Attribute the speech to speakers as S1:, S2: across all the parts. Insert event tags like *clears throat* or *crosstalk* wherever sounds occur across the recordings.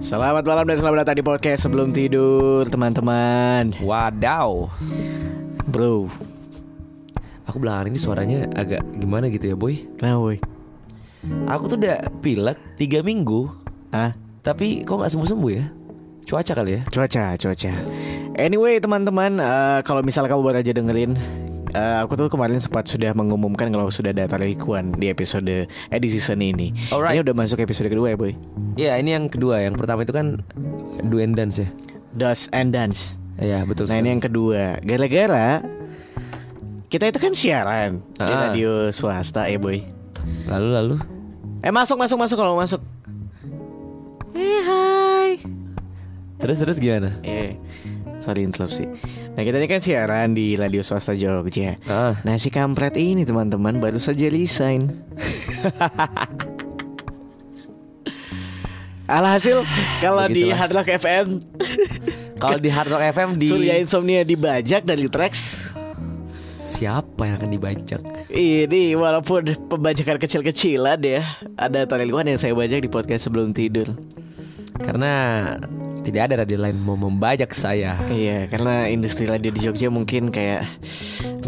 S1: Selamat malam dan selamat datang di podcast sebelum tidur teman-teman
S2: Wadaw
S1: Bro
S2: Aku belakangan ini suaranya agak gimana gitu ya boy
S1: Kenapa woi?
S2: Aku tuh udah pilek 3 minggu
S1: Hah?
S2: Tapi kok gak sembuh-sembuh ya Cuaca kali ya
S1: Cuaca, cuaca Anyway teman-teman eh, Kalau misal kamu baru aja dengerin eh, Aku tuh kemarin sempat sudah mengumumkan Kalau sudah ada Likuan di episode Eh di season ini
S2: Alright.
S1: Ini udah masuk episode kedua ya boy
S2: Ya ini yang kedua Yang pertama itu kan Do and Dance ya
S1: Dust and Dance
S2: Ya betul
S1: Nah ini
S2: sekali
S1: yang kedua Gara-gara Kita itu kan siaran Di
S2: Ah. radio
S1: radio swasta ya boy
S2: Lalu-lalu
S1: Eh masuk masuk masuk kalau mau masuk Eh hai
S2: Terus-terus gimana?
S1: Eh sorry interupsi Nah kita ini kan siaran di radio swasta Jogja
S2: Ah.
S1: Nah si kampret ini teman-teman baru saja resign *laughs* Alhasil kalau di
S2: Begitulah.
S1: Hard Rock FM
S2: Kalau di Hard Rock FM di
S1: Surya Insomnia dibajak dari tracks
S2: Siapa yang akan dibajak?
S1: Ini walaupun pembajakan kecil-kecilan ya Ada Tarelwan yang saya bajak di podcast sebelum tidur
S2: Karena tidak ada radio lain mau membajak saya
S1: Iya karena industri radio di Jogja mungkin kayak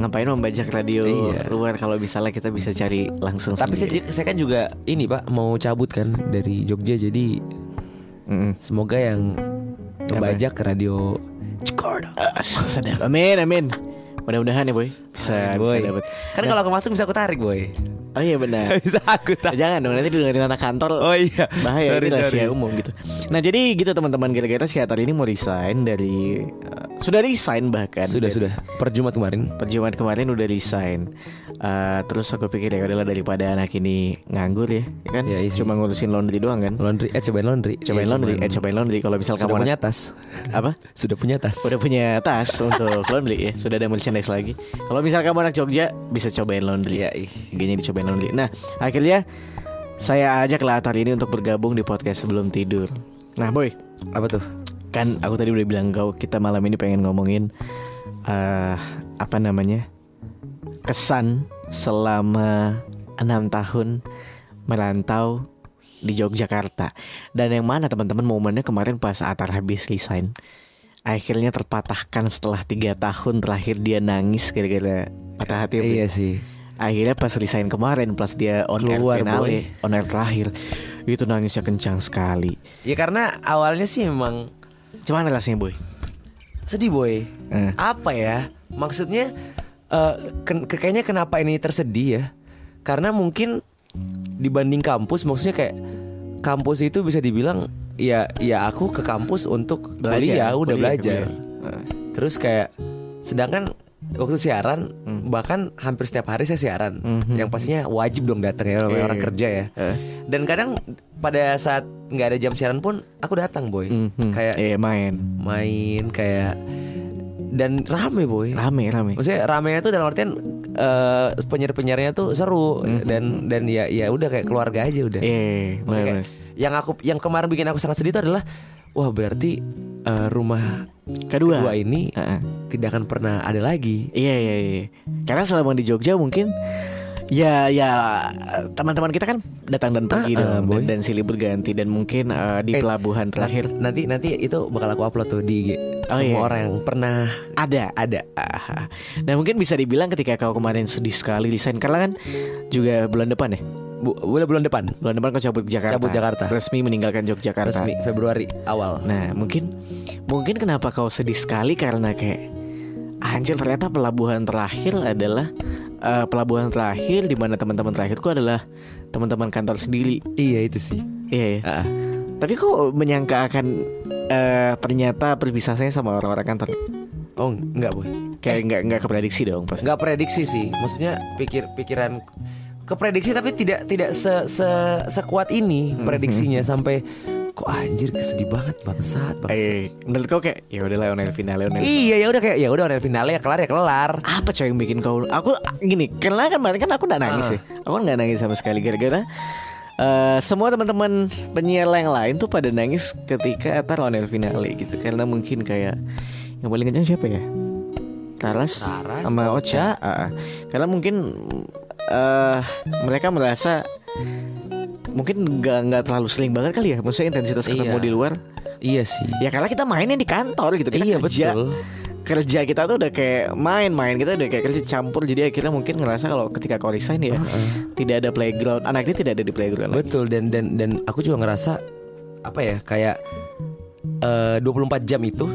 S1: Ngapain membajak radio
S2: Iya.
S1: luar kalau misalnya kita bisa cari langsung
S2: Tapi saya,
S1: sendiri.
S2: saya kan juga ini pak mau cabut kan dari Jogja jadi
S1: Mm-mm.
S2: semoga yang ngebajak ke radio
S1: Cikordo. *laughs* Ah, Sedap Amin amin Mudah-mudahan ya boy Bisa,
S2: boy.
S1: bisa dapat
S2: Kan kalau aku masuk bisa aku tarik boy.
S1: Oh iya benar
S2: *laughs* bisa aku tarik.
S1: Jangan dong nanti dengerin anak kantor
S2: Oh iya.
S1: bahaya
S2: Sorry,
S1: ini rahasia
S2: sorry.
S1: umum gitu. Nah jadi gitu teman-teman gara-gara si Atar ini mau resign dari eh, sudah resign bahkan
S2: Sudah
S1: Dari-
S2: sudah. Per Jumat kemarin.
S1: Perjumpaan kemarin udah resign. Eh, terus aku pikir ya udahlah daripada anak ini nganggur ya, ya kan?
S2: Ya, isi.
S1: Cuma ngurusin laundry doang kan?
S2: Laundry, eh cobain laundry.
S1: Cobain
S2: Ya,
S1: laundry, eh cobain laundry kalau misal
S2: Sudah
S1: kamu
S2: punya
S1: anak-
S2: tas.
S1: apa?
S2: Sudah punya tas.
S1: Udah punya tas untuk laundry ya, sudah ada merchandise lagi. Kalau misal kamu anak Jogja bisa cobain laundry.
S2: Iya, ih.
S1: Gini dicobain laundry. Nah, akhirnya saya ajak lah Atar ini untuk bergabung di podcast sebelum tidur. Nah, boy,
S2: Apa tuh?
S1: kan aku tadi udah bilang kau kita malam ini pengen ngomongin eh apa namanya kesan selama enam tahun merantau di Yogyakarta dan yang mana teman-teman momennya kemarin pas Atar habis resign akhirnya terpatahkan setelah tiga tahun terakhir dia nangis gara-gara patah hati
S2: Iya sih.
S1: akhirnya pas resign kemarin plus dia on air
S2: Keluar,
S1: finale
S2: boy.
S1: on air terakhir itu nangisnya kencang sekali
S2: Ya karena awalnya sih memang
S1: cuman rasanya boy
S2: sedih boy.
S1: Eh.
S2: Apa ya? Maksudnya eh, ken- kayaknya kenapa ini tersedih ya? Karena mungkin dibanding kampus maksudnya kayak kampus itu bisa dibilang ya ya aku ke kampus untuk kuliah udah belajar. Eh, Terus kayak sedangkan waktu siaran
S1: Hmm.
S2: bahkan hampir setiap hari saya siaran. Yang pastinya wajib dong datang ya namanya
S1: Iya,
S2: orang
S1: iya.
S2: kerja ya.
S1: Eh.
S2: Dan kadang pada saat nggak ada jam siaran pun aku datang boy. Kayak
S1: eh, main
S2: main kayak dan rame boy.
S1: rame rame
S2: Maksudnya ramenya tuh dalam artian eh, penyiar-penyiarnya tuh seru
S1: Mhm.
S2: dan dan ya ya udah kayak keluarga aja udah.
S1: eh
S2: Makanya
S1: bener,
S2: iya. kayak yang aku yang kemarin bikin aku sangat sedih itu adalah wah berarti eh, rumah
S1: bener. kedua,
S2: kedua ini
S1: Heeh.
S2: tidak akan pernah ada lagi.
S1: iya iya iya karena selama di Jogja mungkin ya ya teman-teman kita kan datang dan pergi
S2: Ah, ah,
S1: dong,
S2: boy.
S1: dan, dan silih berganti dan mungkin eh, di
S2: Eh,
S1: pelabuhan terakhir
S2: Nanti nanti itu bakal aku upload tuh di IG.
S1: Oh,
S2: semua
S1: iya.
S2: orang yang pernah
S1: ada
S2: ada.
S1: Ah, nah mungkin bisa dibilang ketika kau kemarin sedih sekali desain karena kan juga bulan depan ya
S2: Bu, bulan bulan depan
S1: bulan depan kau cabut ke Jakarta
S2: Cabut Jakarta.
S1: resmi meninggalkan Yogyakarta
S2: resmi Februari awal.
S1: Nah mungkin mungkin kenapa kau sedih sekali karena kayak anjir ternyata pelabuhan terakhir adalah eh, pelabuhan terakhir di mana teman-teman terakhirku adalah teman-teman kantor sendiri.
S2: Iya itu sih.
S1: Iya. ya.
S2: Ah,
S1: Tapi kok menyangka akan eh, ternyata perpisahannya sama orang-orang kantor
S2: oh enggak boy.
S1: kayak nggak nggak keprediksi dong pasti.
S2: nggak prediksi sih maksudnya pikir pikiran keprediksi tapi tidak tidak se, se- sekuat ini prediksinya sampai kok anjir kesedih banget bangsat bangsat
S1: Eh, menurut kau kayak ya udahlah onel final onel.
S2: iya ya udah kayak ya udah udah finalnya kelar ya kelar
S1: apa coy yang bikin kau aku gini karena kan kemarin kan aku nggak nangis
S2: Ah.
S1: ya aku nggak nangis sama sekali gara-gara eh, semua teman-teman penyiar yang lain tuh pada nangis ketika Atar lawan El Finale gitu karena mungkin kayak yang paling kencang siapa ya Taras,
S2: Taras, oh,
S1: sama Ocha, Ah, ah. karena mungkin eh mereka merasa mungkin nggak nggak terlalu sering banget kali ya maksudnya intensitas ketemu
S2: Iya.
S1: di luar
S2: Iya sih.
S1: ya karena kita mainnya di kantor gitu kita
S2: Iya
S1: kerja,
S2: betul.
S1: kerja kita tuh udah kayak main-main kita udah kayak kerja campur jadi akhirnya mungkin ngerasa kalau ketika co-resign ya tidak ada playground anaknya tidak ada di playground lagi.
S2: Betul dan dan dan aku juga ngerasa apa ya kayak eh, 24 jam itu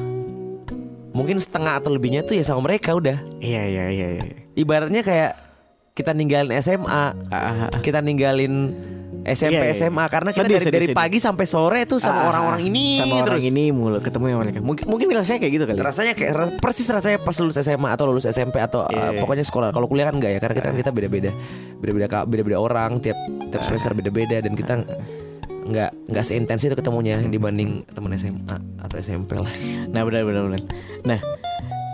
S2: mungkin setengah atau lebihnya tuh ya sama mereka udah.
S1: iya iya iya iya
S2: Ibaratnya kayak kita ninggalin SMA,
S1: Ah, ah, ah.
S2: kita ninggalin SMP
S1: Iya, iya, iya.
S2: SMA karena kita
S1: Sedih,
S2: dari,
S1: sedih,
S2: dari
S1: sedih.
S2: pagi sampai sore tuh
S1: Ah, ah,
S2: sama orang-orang
S1: ah.
S2: ini
S1: sama
S2: terus.
S1: orang ini mulu ketemu yang mereka mungkin mungkin rasanya kayak gitu kali
S2: Rasanya kayak ras- persis rasanya pas lulus SMA atau lulus SMP atau
S1: Iya,
S2: uh,
S1: iya. Ah.
S2: pokoknya sekolah. Kalau kuliah kan enggak ya karena kita kita beda-beda. Beda-beda ka- beda-beda orang tiap tiap semester beda-beda dan
S1: Ah.
S2: kita nggak nggak seintens itu ketemunya
S1: Hmm.
S2: dibanding teman SMA atau SMP lah.
S1: nah benar benar benar nah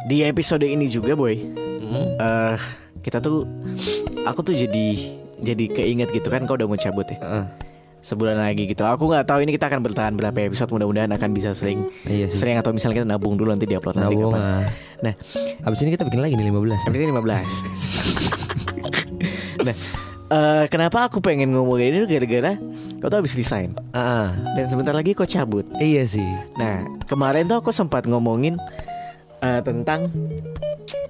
S1: di episode ini juga boy
S2: Mm.
S1: eh kita tuh aku tuh jadi jadi keinget gitu kan kau udah mau cabut ya
S2: Heeh.
S1: sebulan lagi gitu aku nggak tahu ini kita akan bertahan berapa episode mudah-mudahan akan bisa sering
S2: Iya sih.
S1: sering atau misalnya kita nabung dulu nanti diupload nanti kapan
S2: Nabung, ah.
S1: nah
S2: Abis ini kita bikin lagi nih 15.
S1: habis ini 15 *laughs* nah eh, kenapa aku pengen ngomongin ini gara-gara kau tuh habis resign
S2: Heeh.
S1: dan sebentar lagi kau cabut
S2: Ah, Iya sih.
S1: Nah, kemarin tuh aku sempat ngomongin eh, tentang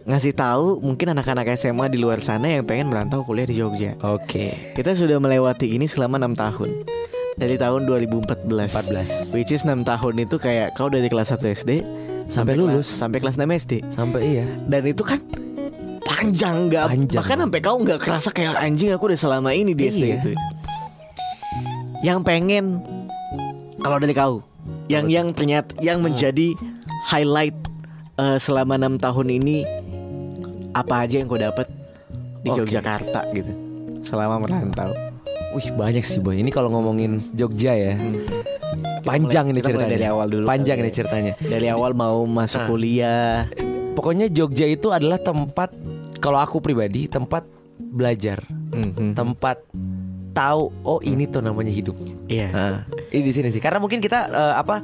S1: ngasih tahu mungkin anak-anak SMA di luar sana yang pengen merantau kuliah di Jogja.
S2: Oke.
S1: Kita sudah melewati ini selama enam tahun. Dari tahun 2014.
S2: 14.
S1: Which is 6 tahun itu kayak kau dari kelas 1 SD kelas-
S2: Sampai lulus.
S1: sampai kelas 6 SD.
S2: Sampai iya.
S1: Dan itu kan panjang nggak
S2: Panjang.
S1: bahkan sampai kau nggak kerasa kayak anjing aku udah selama ini di SD
S2: Iya.
S1: itu. Yang pengen kalau dari kau yang yang ternyata yang
S2: Ah.
S1: menjadi highlight eh, selama enam tahun ini apa aja yang kau dapat di
S2: Oke.
S1: Yogyakarta gitu selama merantau.
S2: Wih banyak sih boy. Ini kalau ngomongin Jogja ya. Panjang ini
S1: Hmm. Kita mulai
S2: ceritanya.
S1: dari awal dulu.
S2: Panjang
S1: kali
S2: ini
S1: ya.
S2: ceritanya.
S1: Dari awal mau
S2: Ah.
S1: masuk kuliah.
S2: Pokoknya Jogja itu adalah tempat kalau aku pribadi tempat belajar,
S1: Mhm.
S2: tempat tahu oh ini tuh namanya hidup.
S1: Iya.
S2: Nah, ini di sini sih. Karena mungkin kita eh, apa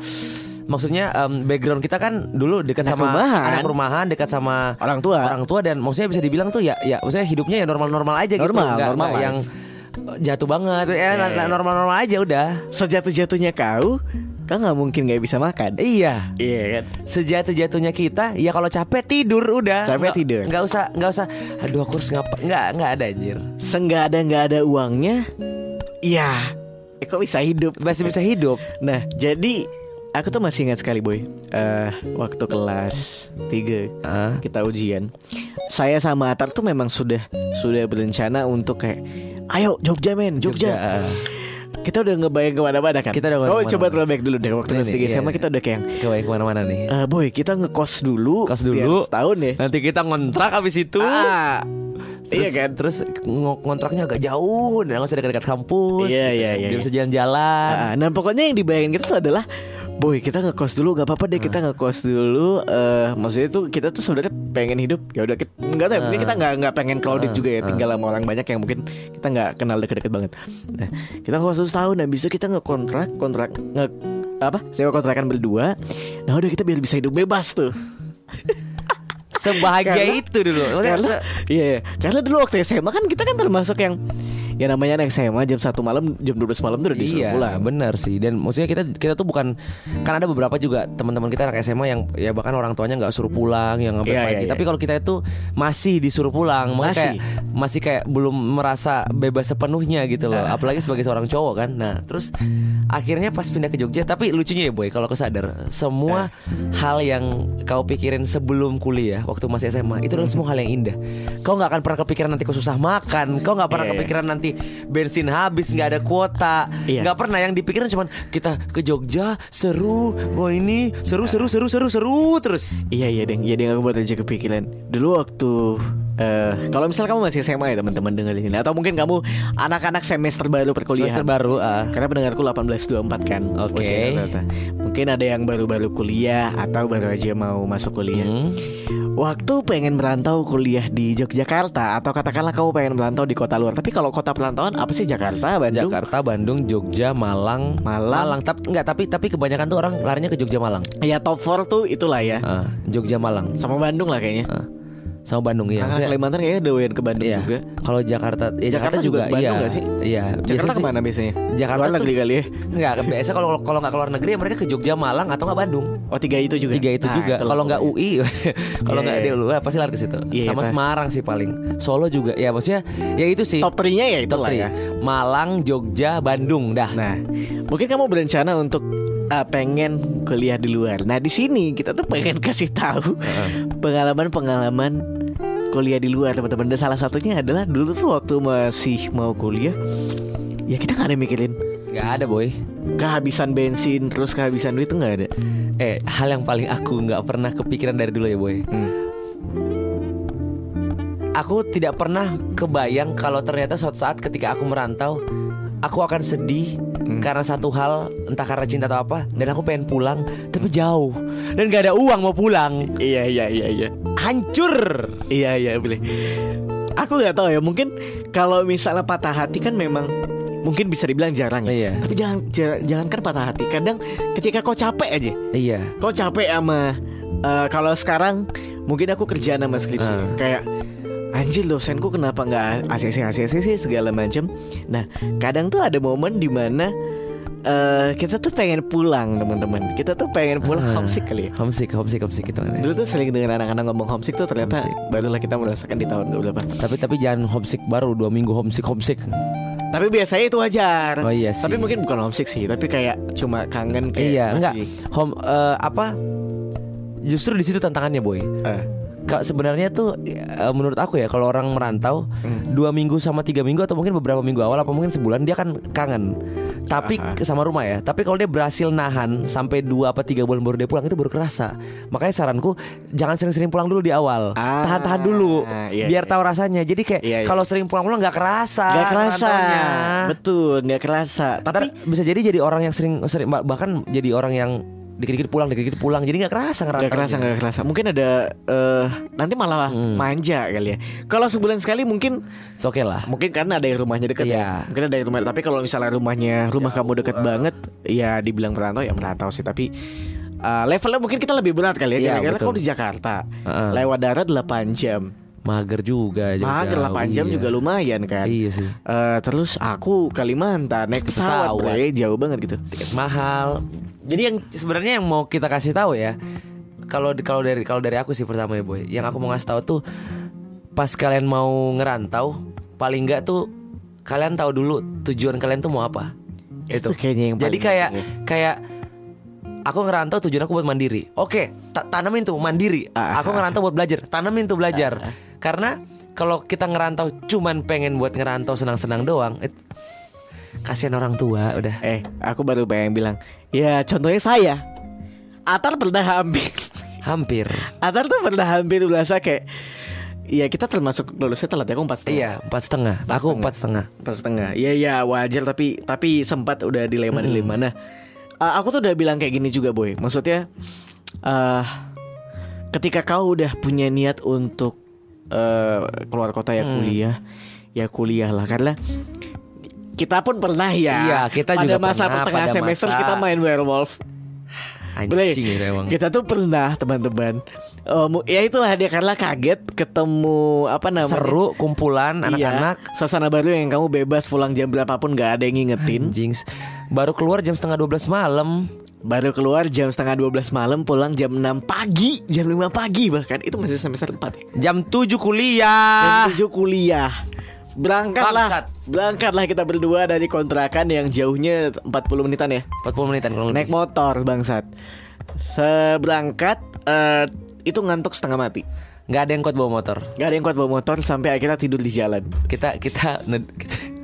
S2: maksudnya em, background kita kan dulu dekat
S1: Anak
S2: sama
S1: rumahan.
S2: anak rumahan, dekat sama
S1: Orang tua.
S2: orang tua dan maksudnya bisa dibilang tuh ya ya maksudnya hidupnya ya normal-normal aja gitu,
S1: Normal,
S2: Nggak-
S1: normal Iya,
S2: nggak
S1: life.
S2: yang eh, jatuh banget. Eh, na- na- normal-normal aja udah.
S1: Sejatuh-jatuhnya kau, kau nggak mungkin nggak bisa makan.
S2: Iya.
S1: Iya kan.
S2: sejatuh-jatuhnya kita ya kalau capek tidur udah
S1: Capek
S2: Nggak-
S1: tidur.
S2: nggak usah nggak usah aduh aku harus ngapa nggak nggak ada anjir
S1: Seenggak ada nggak ada uangnya, iya. Eh, kok bisa hidup?
S2: masih bisa hidup
S1: Nah, jadi aku tuh masih ingat sekali, boy. Eh, waktu kelas 3
S2: Ah.
S1: kita ujian, saya sama Atar tuh memang sudah sudah berencana untuk kayak, ayo Jogja men, Jogja.
S2: Jogja. ah.
S1: Kita udah ngebayang kemana-mana kan?
S2: Kita udah
S1: Kau
S2: kemana-mana.
S1: coba throwback dulu deh waktu
S2: Ini
S1: kelas
S2: nih,
S1: 3
S2: iya,
S1: SMA
S2: iya.
S1: kita udah kayak,
S2: Kau yang kemana-mana nih
S1: "Eh, boy kita ngekos dulu,
S2: Kos
S1: biar
S2: dulu.
S1: setahun ya.
S2: nanti kita ngontrak abis itu
S1: Ah,
S2: Terus,
S1: iya kan?
S2: Terus ngo- ngontraknya agak jauh, nggak usah dekat-dekat kampus. gitu.
S1: Iya, iya, iya, iya.
S2: Dia bisa jalan-jalan.
S1: Ah, nah pokoknya yang dibayangin kita tuh adalah Boy kita ngekos dulu nggak apa-apa deh kita ngekos dulu eh maksudnya tuh kita tuh sebenarnya pengen hidup ya udah kita nggak tahu ya, mungkin kita nggak nggak pengen crowded juga ya tinggal sama orang banyak yang mungkin kita nggak kenal deket-deket banget nah kita ngekos dulu setahun dan bisa kita ngekontrak kontrak nge apa sewa kontrakan berdua nah udah kita biar bisa hidup bebas tuh
S2: Sebahagia
S1: Karena-
S2: itu dulu. Maksudnya
S1: karena,
S2: se-
S1: iya, iya. karena dulu waktu SMA kan kita kan termasuk yang ya namanya anak SMA jam 1 malam jam 12 malam tuh udah disuruh
S2: iya,
S1: pulang
S2: benar sih. Dan maksudnya kita kita tuh bukan kan ada beberapa juga teman-teman kita anak SMA yang ya bahkan orang tuanya nggak suruh pulang yang ngambil
S1: Iya,
S2: pagi.
S1: iya, iya.
S2: Tapi kalau kita itu masih disuruh pulang, makanya
S1: Masih.
S2: kayak- masih kayak belum merasa bebas sepenuhnya gitu
S1: Nah.
S2: loh. Apalagi sebagai seorang cowok kan. Nah, terus akhirnya pas pindah ke Jogja, tapi lucunya ya boy kalau kesadar
S1: Nah.
S2: semua hal yang kau pikirin sebelum kuliah waktu masih SMA itu adalah semua hal yang indah. Kau nggak akan pernah kepikiran nanti kau susah makan, kau nggak pernah
S1: Iya, iya.
S2: kepikiran nanti bensin habis nggak ada kuota
S1: Iya.
S2: nggak pernah yang dipikirin cuman kita ke Jogja seru wah ini seru seru seru seru seru terus
S1: Iya iya deng, iya deng aku buat aja kepikiran. Dulu waktu eh kalau misalnya kamu masih SMA ya teman-teman dengerin ini atau mungkin kamu anak-anak semester baru perkuliahan.
S2: semester baru ah.
S1: Karena pendengarku 1824 kan.
S2: Oke.
S1: usianya rata-rata. Mungkin ada yang baru-baru kuliah atau baru aja mau masuk kuliah.
S2: Hmm.
S1: Waktu pengen merantau kuliah di Yogyakarta atau katakanlah kamu pengen merantau di kota luar. Tapi kalau kota perantauan apa sih Jakarta, Bandung?
S2: Jakarta Bandung Jogja Malang
S1: Malang.
S2: tapi nggak tapi tapi kebanyakan tuh orang larinya ke Jogja Malang
S1: Ya top 4 tuh itulah ya.
S2: Ah, Jogja Malang
S1: Sama Bandung lah kayaknya.
S2: Ah. sama Bandung
S1: Kakak
S2: ya. Maksudnya-
S1: Kalimantan kayaknya ada yang ke Bandung
S2: Iya.
S1: juga.
S2: Kalau Jakarta, ya Jakarta,
S1: Jakarta juga
S2: juga,
S1: Bandung
S2: iya.
S1: nggak sih?
S2: Iya.
S1: Jakarta
S2: sih-
S1: kemana biasanya?
S2: Jakarta
S1: Luar
S2: tuh-
S1: negeri kali ya.
S2: Nggak, biasa kalau kalau nggak keluar negeri ya mereka ke Jogja, Malang atau nggak Bandung.
S1: Oh tiga itu juga.
S2: Tiga itu
S1: Nah,
S2: juga.
S1: lah
S2: Kalau nggak
S1: pokoknya.
S2: UI, *laughs* kalau
S1: Iya,
S2: nggak
S1: iya.
S2: DLU eh, pasti lari ke situ.
S1: Iya,
S2: Sama
S1: pasti.
S2: Semarang sih paling. Solo juga. Ya maksudnya ya itu sih.
S1: top 3-nya ya
S2: Top
S1: itulah
S2: three.
S1: ya.
S2: Malang, Jogja, Bandung dah.
S1: Nah, mungkin kamu berencana untuk uh, pengen kuliah di luar. Nah, di sini kita tuh pengen kasih tahu pengalaman-pengalaman kuliah di luar, teman-teman. Dan salah satunya adalah dulu tuh waktu masih mau kuliah, ya kita nggak ada mikirin
S2: nggak ada boy.
S1: kehabisan bensin, terus kehabisan duit tuh nggak ada.
S2: Eh, hal yang paling aku nggak pernah kepikiran dari dulu ya boy.
S1: Hmm.
S2: Aku tidak pernah kebayang kalau ternyata suatu saat ketika aku merantau, aku akan sedih
S1: Hmm.
S2: karena satu hal, entah karena cinta atau apa, dan aku pengen pulang, tapi jauh dan gak ada uang mau pulang.
S1: Iya, iya, iya, iya.
S2: Hancur.
S1: Iya iya boleh. Aku nggak tahu ya mungkin kalau misalnya patah hati kan memang mungkin bisa dibilang jarang ya.
S2: Iya.
S1: Tapi jangan jar- jangankan patah hati. Kadang ketika kau capek aja,
S2: Iya.
S1: kau capek sama eh, kalau sekarang mungkin aku kerjaan sama skripsi
S2: Ah.
S1: kayak anjir dosenku kenapa nggak ACC ACC sih segala macam. Nah kadang tuh ada momen dimana eh, kita tuh pengen pulang teman-teman. Kita tuh pengen pulang
S2: Ah.
S1: homesick kali ya.
S2: Homesick, homesick, homesick gitu kan. ya.
S1: Dulu tuh sering dengan anak-anak ngomong homesick tuh ternyata
S2: Homesick.
S1: barulah kita merasakan di tahun 2008
S2: Tapi tapi jangan homesick baru dua minggu homesick homesick.
S1: Tapi biasanya itu wajar.
S2: Oh iya sih.
S1: Tapi mungkin bukan homesick sih, tapi kayak cuma kangen kayak
S2: iya, enggak.
S1: masih-
S2: Home eh, apa? Justru di situ tantangannya, boy.
S1: Eh,
S2: Kak sebenarnya tuh eh, menurut aku ya kalau orang merantau
S1: Hmm.
S2: dua minggu sama tiga minggu atau mungkin beberapa minggu awal apa mungkin sebulan dia kan kangen tapi
S1: Aha.
S2: ke- sama rumah ya tapi kalau dia berhasil nahan sampai dua apa tiga bulan baru dia pulang itu baru kerasa makanya saranku jangan sering-sering pulang dulu di awal
S1: Ah,
S2: tahan-tahan dulu
S1: iya,
S2: biar
S1: iya.
S2: tahu rasanya jadi kayak
S1: Iya, iya.
S2: kalau sering pulang-pulang nggak kerasa
S1: Nggak kerasa.
S2: merantaunya.
S1: Betul, nggak kerasa. Tapi
S2: Ntar bisa jadi jadi orang yang sering sering bah- bahkan jadi orang yang dikit-dikit pulang dikit-dikit pulang jadi nggak kerasa
S1: nggak kerasa
S2: ngerantaunya.
S1: nggak kerasa. Mungkin ada eh, nanti malah
S2: Hmm.
S1: manja kali ya. Kalau sebulan sekali mungkin
S2: It's okay lah
S1: mungkin karena ada yang rumahnya deket
S2: Iya.
S1: ya. Mungkin ada yang rumah. Tapi kalau misalnya rumahnya rumah kamu deket banget, ya dibilang merantau ya merantau sih. Tapi eh, levelnya mungkin kita lebih berat kali ya.
S2: Iya,
S1: Karena
S2: betul.
S1: kamu di Jakarta,
S2: Heeh.
S1: lewat darat 8 jam.
S2: mager juga jauh-jauh.
S1: Mahal 8 jam
S2: Iya.
S1: juga lumayan kan.
S2: Iya sih.
S1: Eh, terus aku Kalimantan naik
S2: Terus
S1: pesawat,
S2: pesawat.
S1: bre, jauh banget gitu.
S2: tiket mahal. Jadi yang sebenarnya yang mau kita kasih tahu ya, kalau kalau dari kalau dari aku sih pertama ya boy, yang aku mau ngasih tahu tuh pas kalian mau ngerantau, paling nggak tuh kalian tahu dulu tujuan kalian tuh mau apa.
S1: Itu kayaknya yang
S2: Jadi
S1: paling
S2: kayak
S1: penting
S2: kayak aku ngerantau tujuan aku buat mandiri. Oke, ta- tanamin tuh mandiri.
S1: Ah,
S2: Aku ngerantau buat belajar. Tanamin tuh belajar. Karena kalau kita ngerantau cuman pengen buat ngerantau senang-senang doang, it- kasihan orang tua udah.
S1: Eh, aku baru pengen bilang, ya contohnya saya. Atar pernah hampir
S2: Hampir.
S1: Atar tuh pernah hampir berasa kayak Ya kita termasuk lulusnya telat ya, aku empat setengah
S2: Iya, empat setengah. Aku empat setengah.
S1: Empat setengah, iya iya wajar tapi tapi sempat udah dilema-dilema Nah, eh, aku tuh udah bilang kayak gini juga boy Maksudnya, eh ketika kau udah punya niat untuk eh, keluar kota ya kuliah Ya kuliah lah, karena kita pun pernah
S2: Iya,
S1: ya
S2: kita
S1: Pada
S2: juga
S1: masa
S2: pernah,
S1: pertengahan
S2: pada
S1: semester
S2: masa-
S1: kita main werewolf Boleh.
S2: Anjing itu emang.
S1: Kita tuh pernah teman-teman. Eh, mu- ya itulah dia karena kaget ketemu apa namanya?
S2: Seru kumpulan
S1: Iya,
S2: anak-anak.
S1: suasana baru yang kamu bebas pulang jam berapapun nggak ada yang ngingetin.
S2: Anjing. Baru keluar jam setengah 12 malam.
S1: Baru keluar jam setengah 12 malam, pulang jam 6 pagi, jam 5 pagi bahkan itu masih semester 4 ya.
S2: Jam 7
S1: Jam
S2: kuliah.
S1: 7 kuliah.
S2: Ah. Bangsat.
S1: Berangkatlah, berangkatlah kita berdua dari kontrakan yang jauhnya 40 menitan ya.
S2: 40 menitan kalau
S1: Naik
S2: lebih.
S1: motor bangsat. Seberangkat eh, itu ngantuk setengah mati.
S2: nggak ada yang kuat bawa motor.
S1: Gak ada yang kuat bawa motor sampai akhirnya tidur di jalan.
S2: Kita kita ned- kita, *laughs*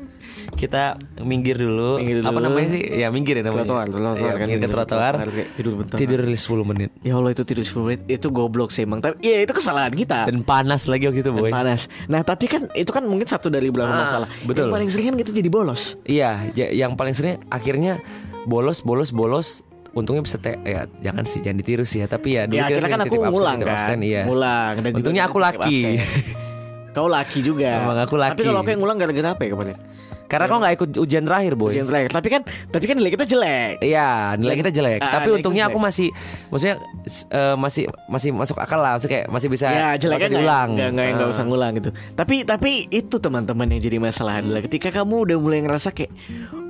S2: kita minggir dulu.
S1: Minggir dulu.
S2: Apa namanya sih? Ya minggir ya namanya.
S1: Trotoar, trotoar kan,
S2: Iya, minggir ke
S1: minggir
S2: trotoar.
S1: trotoar, kayak tidur bentar.
S2: Tidur 10 menit.
S1: Ya Allah itu tidur 10 menit itu goblok sih emang. Tapi ya itu kesalahan kita.
S2: Dan panas lagi waktu itu, boy.
S1: Panas. Nah tapi kan itu kan mungkin satu dari beberapa
S2: Ah,
S1: masalah.
S2: betul.
S1: Yang paling sering kan kita jadi bolos.
S2: Iya, ja- yang paling sering akhirnya bolos, bolos, bolos. Untungnya bisa te- ya jangan sih jangan ditiru sih ya tapi ya dulu
S1: ya
S2: kita
S1: akhirnya
S2: sering
S1: kan aku
S2: titip absen,
S1: ngulang
S2: titip
S1: kan.
S2: absen, iya.
S1: Ngulang. Dan juga
S2: Untungnya
S1: kita
S2: aku
S1: titip
S2: laki.
S1: absen. *laughs* Kau laki juga.
S2: Emang aku
S1: Tapi
S2: laki.
S1: kalau aku yang ngulang gara-gara apa ya kemarin?
S2: *laughs* Karena kau nggak ikut ujian terakhir boy.
S1: Ujian terakhir. Tapi kan tapi kan nilai kita jelek.
S2: Iya nilai kita jelek.
S1: Ah,
S2: Tapi
S1: nilai kita
S2: untungnya
S1: jelek.
S2: aku masih, maksudnya s- eh, masih masih masuk akal lah. Maksudnya kayak masih bisa
S1: Ya jelek
S2: nggak
S1: kan
S2: usah diulang.
S1: Gak, gak,
S2: Ah.
S1: usah ngulang gitu Tapi tapi itu teman-teman yang jadi masalah adalah Ketika kamu udah mulai ngerasa kayak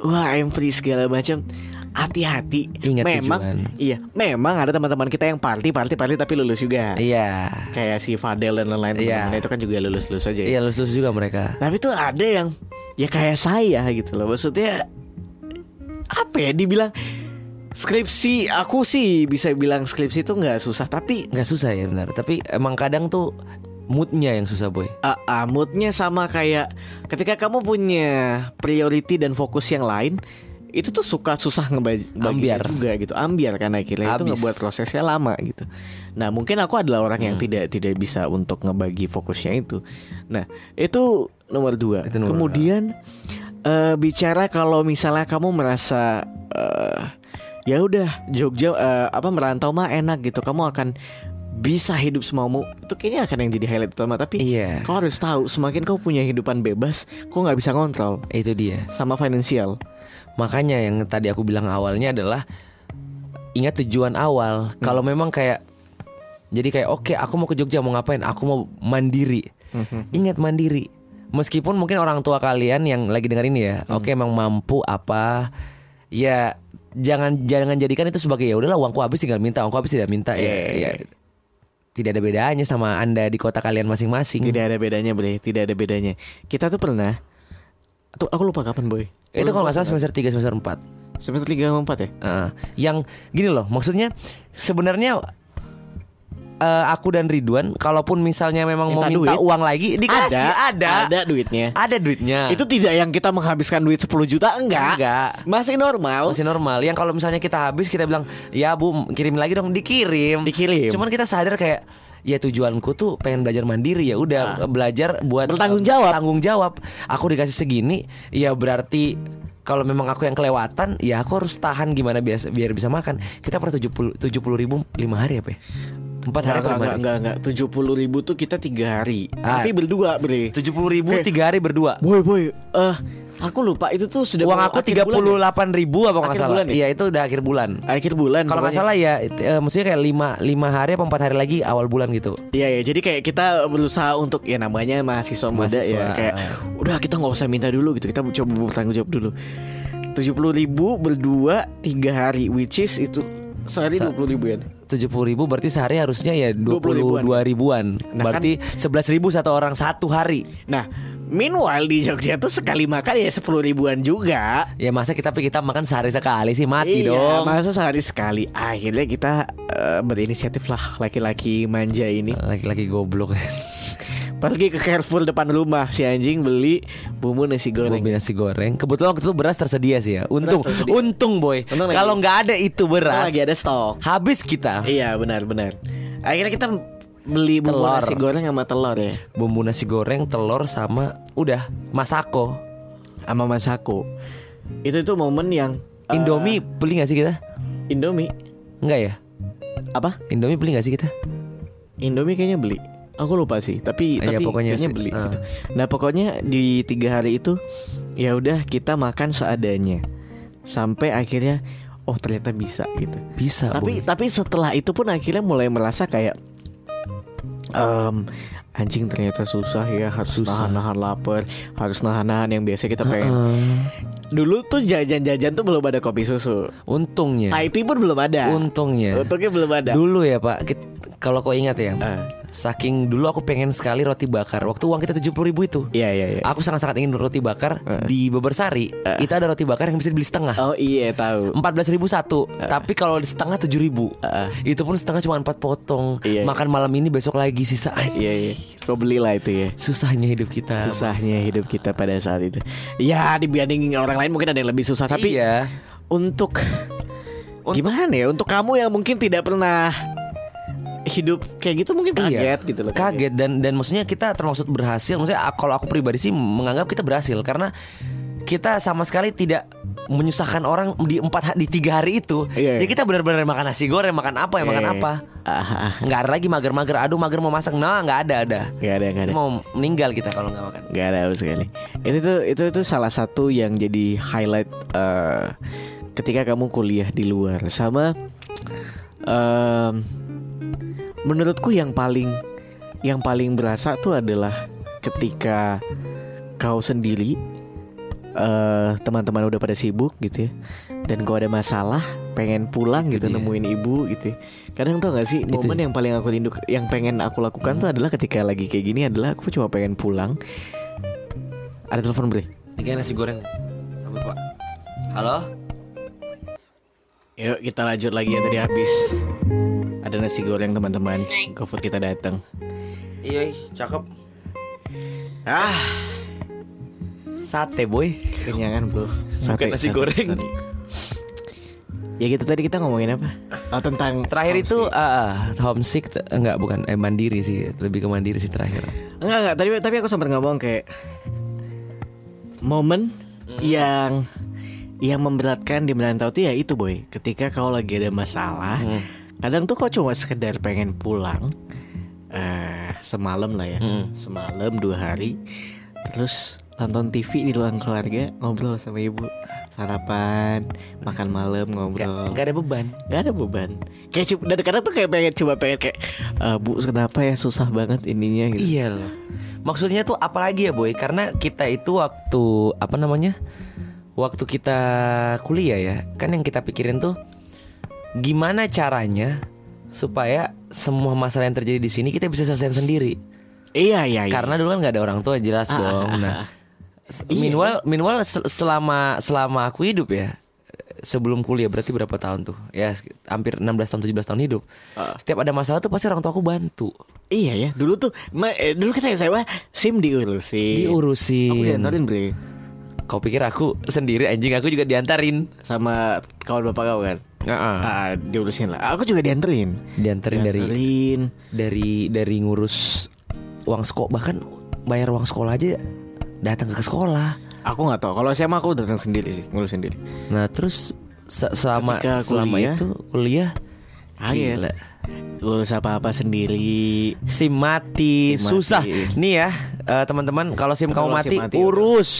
S1: Wah I'm free segala macam Hati-hati
S2: Ingat
S1: Memang
S2: tujuan.
S1: Iya Memang ada teman-teman kita yang party Party party tapi lulus juga
S2: Iya.
S1: Kayak si Fadel dan lain-lain
S2: Iya.
S1: teman-temannya itu kan juga lulus-lulus aja ya.
S2: Iya lulus lulus juga mereka.
S1: Tapi tuh ada yang ya kayak saya gitu loh. Maksudnya apa ya dibilang skripsi aku sih bisa bilang skripsi itu nggak susah tapi
S2: Nggak susah ya benar. Tapi emang kadang tuh moodnya yang susah boy.
S1: uh, uh, moodnya sama kayak ketika kamu punya priority dan fokus yang lain itu tuh suka susah ngebagi
S2: Ambiar.
S1: juga gitu ambiar karena akhirnya itu
S2: Abis.
S1: ngebuat prosesnya lama gitu nah mungkin aku adalah orang yang
S2: Hmm.
S1: tidak tidak bisa untuk ngebagi fokusnya itu nah itu nomor dua
S2: Itu nomor
S1: kemudian eh, bicara kalau misalnya kamu merasa eh, ya udah Jogja eh, apa merantau mah enak gitu kamu akan bisa hidup semaumu itu kayaknya akan yang jadi highlight utama tapi Ya.
S2: Iya.
S1: Kau harus tahu, semakin kau punya kehidupan bebas, kau nggak bisa kontrol
S2: Itu dia.
S1: sama finansial.
S2: Makanya yang tadi aku bilang awalnya adalah ingat tujuan awal. Kalau
S1: Hmm.
S2: memang kayak jadi kayak oke aku mau ke Jogja mau ngapain? Aku mau mandiri.
S1: Hmm.
S2: Ingat mandiri. Meskipun mungkin orang tua kalian yang lagi dengar ini ya,
S1: Hmm.
S2: oke emang mampu apa ya jangan jangan jadikan itu sebagai ya udahlah uangku habis tinggal minta, uangku habis tidak minta ya.
S1: Iya.
S2: ya. Tidak ada bedanya sama Anda di kota kalian masing-masing.
S1: Tidak ada bedanya, Bre. Tidak ada bedanya. Kita tuh pernah tuh aku lupa kapan, Boy.
S2: Itu kalau
S1: Lupa
S2: nggak salah semester 3 semester 4.
S1: semester 3 sama 4 ya?
S2: Heeh. Eh, yang gini loh, maksudnya sebenarnya eh, aku dan Ridwan, kalaupun misalnya memang
S1: Minta
S2: mau minta
S1: duit?
S2: uang lagi, dikasih ada,
S1: ada duitnya.
S2: Ada duitnya.
S1: Itu tidak yang kita menghabiskan duit 10 juta, enggak.
S2: Enggak.
S1: Masih normal.
S2: masih normal. Yang kalau misalnya kita habis kita bilang, ya bu kirim lagi dong, dikirim.
S1: Dikirim.
S2: Cuman kita sadar kayak Ya tujuanku tuh pengen belajar mandiri ya udah belajar buat
S1: Ah. Bertanggung jawab.
S2: Tanggung jawab. Aku dikasih segini, ya berarti kalau memang aku yang kelewatan, ya aku harus tahan gimana biasa biar bisa makan. Kita pernah tujuh puluh ribu lima hari apa? ya? Empat hari
S1: Enggak,
S2: atau lima
S1: enggak,
S2: hari?
S1: enggak, enggak. 70 ribu tuh kita 3 hari.
S2: Ah.
S1: Tapi berdua, Bre.
S2: Tujuh puluh ribu
S1: Oke.
S2: tiga hari berdua.
S1: Boy, boy. Eh, aku lupa itu tuh sudah
S2: Uang
S1: mau
S2: aku
S1: akhir
S2: tiga
S1: bulan
S2: puluh
S1: ya?
S2: ribu apa kalau nggak
S1: Akhir
S2: salah?
S1: bulan ya?
S2: Iya itu udah akhir bulan.
S1: akhir bulan.
S2: Kalau nggak
S1: pokoknya.
S2: salah ya, it- eh, maksudnya kayak lima lima hari apa empat hari lagi awal bulan gitu.
S1: Iya ya, jadi kayak kita berusaha untuk ya namanya mahasiswa muda
S2: Mahasiswa,
S1: ya kayak
S2: ah.
S1: udah kita nggak usah minta dulu gitu, kita coba bertanggung jawab dulu. Tujuh ribu berdua tiga hari, which is itu sehari
S2: Sa-
S1: dua puluh ribu ya.
S2: Tujuh puluh ribu berarti sehari harusnya ya dua
S1: 20
S2: puluh dua ribuan.
S1: Nah, kan-
S2: berarti sebelas ribu satu orang satu hari.
S1: Nah, meanwhile di Jogja tuh sekali makan ya sepuluh ribuan juga.
S2: Ya masa kita kita makan sehari sekali sih mati
S1: Iya,
S2: dong.
S1: masa sehari sekali. Akhirnya kita eh, berinisiatif lah laki-laki manja ini.
S2: Laki-laki goblok. *laughs*
S1: Pergi ke Carrefour depan rumah si anjing beli bumbu nasi goreng.
S2: Mobil nasi goreng. Kebetulan waktu itu beras tersedia sih ya. Untung,
S1: Beras tersedia.
S2: untung boy.
S1: Untung lagi-
S2: Kalau nggak ada itu beras,
S1: Lagi ada stok.
S2: habis kita.
S1: Iya benar-benar. Akhirnya kita beli bumbu
S2: Telur.
S1: nasi goreng sama telur ya,
S2: Bumbu nasi goreng, telur sama udah masako.
S1: sama masako. Itu itu momen yang eh,
S2: Indomie beli nggak sih kita?
S1: Indomie
S2: Enggak ya?
S1: apa?
S2: Indomie beli nggak sih kita?
S1: Indomie kayaknya beli. Aku lupa sih, tapi
S2: Iya,
S1: tapi
S2: pokoknya
S1: kayaknya
S2: sih.
S1: beli.
S2: Ah.
S1: gitu. Nah pokoknya di tiga hari itu ya udah kita makan seadanya sampai akhirnya oh ternyata bisa gitu.
S2: Bisa.
S1: tapi tapi setelah itu pun akhirnya mulai merasa kayak em, anjing ternyata susah ya harus
S2: Susah.
S1: nahan-nahan lapar harus nahan-nahan yang biasa kita pengen dulu tuh jajan-jajan tuh belum ada kopi susu
S2: Untungnya.
S1: IT pun belum ada
S2: Untungnya.
S1: untungnya belum ada
S2: Dulu ya Pak, kit- kalau kau ingat ya,
S1: Eh.
S2: saking dulu aku pengen sekali roti bakar. Waktu uang kita tujuh ribu itu,
S1: iya iya iya
S2: aku sangat-sangat ingin roti bakar
S1: Ah.
S2: di Bebersari. Itu ada roti bakar yang bisa dibeli setengah.
S1: oh iya tahu
S2: Empat belas ribu satu,
S1: Ah.
S2: tapi kalau di setengah tujuh ribu, itu pun setengah cuma empat potong.
S1: Iya, iya.
S2: Makan malam ini besok lagi sisa.
S1: iya iya kau belilah itu ya
S2: Susahnya hidup kita.
S1: susahnya hidup kita pada saat itu ya dibanding orang lain mungkin ada yang lebih susah tapi
S2: Tapi ya,
S1: untuk, gimana ya untuk kamu yang mungkin tidak pernah hidup kayak gitu mungkin kaget gitu loh
S2: Iya. kaget dan dan maksudnya kita termasuk berhasil maksudnya ah, kalau aku pribadi sih menganggap kita berhasil karena kita sama sekali tidak menyusahkan orang di empat ha- di tiga hari itu
S1: Iya,
S2: ya
S1: iya.
S2: kita benar-benar makan nasi goreng makan apa ya makan
S1: Iya, iya.
S2: apa
S1: Ah, ah, ah.
S2: nggak ada lagi mager-mager aduh mager mau masak nah nggak ada ada
S1: Nggak ada, nggak ada.
S2: mau meninggal kita kalau nggak makan
S1: Gak kan? ada sama sekali. Itu tuh itu itu salah satu yang jadi highlight eh, ketika kamu kuliah di luar. Sama em, menurutku yang paling yang paling berasa tuh adalah ketika kau sendiri eh, teman-teman udah pada sibuk gitu ya dan kau ada masalah pengen pulang
S2: Itu
S1: gitu
S2: dia.
S1: nemuin ibu gitu ya. kadang tau gak sih
S2: Itu
S1: momen yang paling aku rindu yang pengen aku lakukan tuh adalah ketika lagi kayak gini adalah aku cuma pengen pulang ada telepon bre
S2: ini kayak nasi goreng sambut pak halo
S1: yuk kita lanjut lagi ya tadi habis ada nasi goreng teman-teman GoFood kita datang
S2: iya cakep
S1: ah
S2: sate boy
S1: kenyangan bro
S2: Bukan nasi goreng.
S1: ya gitu tadi kita ngomongin apa oh tentang
S2: terakhir itu ah, ah, homesick t- enggak bukan eh mandiri sih lebih ke mandiri sih terakhir
S1: Enggak enggak tadi tapi aku sempat ngomong kayak momen yang yang memberatkan di merantau tuh ya itu boy ketika kau lagi ada masalah kadang tuh kau cuma sekedar pengen pulang eh semalam lah ya semalam dua hari terus nonton TV di ruang keluarga ngobrol sama ibu sarapan makan malam
S2: nggak
S1: ngobrol
S2: nggak ada beban
S1: nggak ada beban kayak cu- dan kadang tuh kayak pengen coba pengen kayak "Eh, bu kenapa ya susah banget ininya gitu
S2: Iya loh. Maksudnya tuh apalagi ya boy? Karena kita itu waktu apa namanya? Waktu kita kuliah ya, kan yang kita pikirin tuh gimana caranya supaya semua masalah yang terjadi di sini kita bisa selesaikan sendiri.
S1: Iya iya iya.
S2: Karena dulu kan nggak ada orang tua jelas
S1: Ah,
S2: dong.
S1: ah, ah,
S2: Nah,
S1: ah.
S2: se- meanwhile, meanwhile se- selama selama aku hidup ya, sebelum kuliah berarti berapa tahun tuh? Ya sek- hampir 16 tahun 17 tahun hidup.
S1: Ah.
S2: Setiap ada masalah tuh pasti orang tua aku bantu.
S1: iya ya. Dulu tuh ma- eh, dulu kita SMA SIM diurusin. Iya.
S2: Diurusin.
S1: Aku diantarin Bre.
S2: Kau pikir aku sendiri anjing aku juga diantarin.
S1: sama kawan bapak kau kan.
S2: Heeh.
S1: Ah, diurusin lah. Aku juga dianterin.
S2: Diantarin dari
S1: Dianterin.
S2: dari dari ngurus uang sekolah bahkan bayar uang sekolah aja datang ke sekolah.
S1: Aku nggak tahu. Kalau SMA aku datang sendiri sih, ngurus sendiri.
S2: Nah, terus se- selama
S1: Ketika
S2: selama
S1: kuliah.
S2: itu kuliah
S1: Ah, iya.
S2: gila.
S1: Ngurus apa-apa sendiri. *laughs*
S2: SIM mati,
S1: SIM mati.
S2: susah. Nih ya, eh, teman-teman, kalau SIM
S1: Kalau
S2: kamu
S1: SIM
S2: mati,
S1: mati,
S2: urus.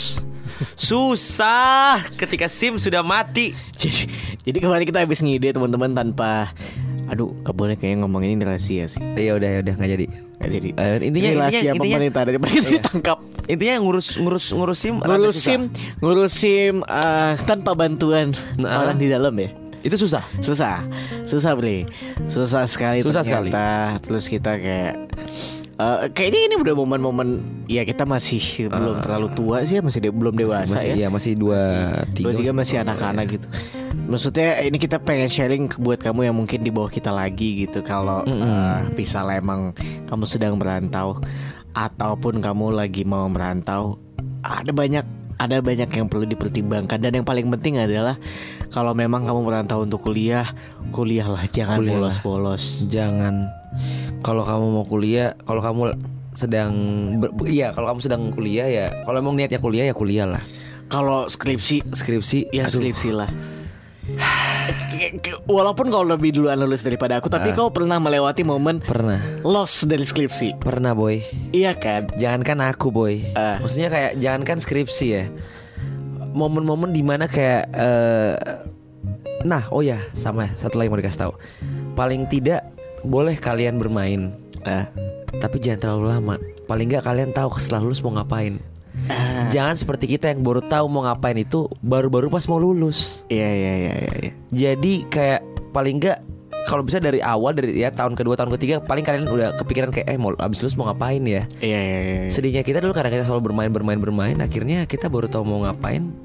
S2: susah ketika SIM sudah mati.
S1: Jadi, jadi kemarin kita habis ngide teman-teman tanpa Aduh, gak boleh kayaknya ngomongin ini rahasia sih.
S2: Ya udah ya udah nggak jadi.
S1: Nggak jadi.
S2: Eh, intinya-
S1: ini
S2: intinya-
S1: rahasia
S2: intinya-
S1: pemerintah daripada kita ditangkap.
S2: Intinya ngurus ngurus ngurus SIM rada
S1: ngurus
S2: susah.
S1: SIM, ngurus SIM eh, tanpa bantuan
S2: Nah.
S1: orang di dalam ya.
S2: itu susah.
S1: Susah, susah beli, susah sekali.
S2: Susah sekali.
S1: ternyata. Terus kita kayak eh, kayaknya ini udah momen-momen ya kita masih belum terlalu tua sih ya, masih de- belum dewasa
S2: Ah. masih,
S1: ya.
S2: iya, masih dua
S1: Dua
S2: tiga,
S1: tiga masih
S2: Iya.
S1: anak-anak gitu. Maksudnya ini kita pengen sharing ke- buat kamu yang mungkin di bawah kita lagi gitu. Kalau bisa misalnya emang kamu sedang merantau ataupun kamu lagi mau merantau, ada banyak ada banyak yang perlu dipertimbangkan dan yang paling penting adalah kalau memang kamu merantau untuk kuliah, kuliahlah jangan
S2: Kuliahlah.
S1: bolos-bolos.
S2: jangan kalau kamu mau kuliah kalau kamu sedang ber, iya kalau kamu sedang kuliah ya kalau emang niatnya kuliah ya kuliah lah
S1: Kalau skripsi
S2: skripsi
S1: Ya
S2: aduh,
S1: skripsi *sighs* lah K- k- Walaupun kau lebih duluan lulus daripada aku
S2: Ah.
S1: Tapi kau pernah melewati momen
S2: pernah
S1: Loss dari skripsi
S2: pernah boy
S1: Iya kan
S2: jangankan aku boy
S1: Ah.
S2: maksudnya kayak jangankan skripsi ya momen-momen dimana kayak eh, nah oh ya sama satu lagi mau dikasih tahu paling tidak boleh kalian bermain
S1: Ah.
S2: tapi jangan terlalu lama paling nggak kalian tahu setelah lulus mau ngapain
S1: Ah.
S2: Jangan seperti kita yang baru tahu mau ngapain itu baru-baru pas mau lulus.
S1: Iya iya iya iya iya.
S2: Jadi kayak paling enggak kalau bisa dari awal dari ya tahun kedua tahun ketiga paling kalian udah kepikiran kayak eh mau abis lulus mau ngapain ya.
S1: Iya iya iya, iya.
S2: Sedihnya kita dulu karena kita selalu bermain bermain bermain akhirnya kita baru tahu mau ngapain.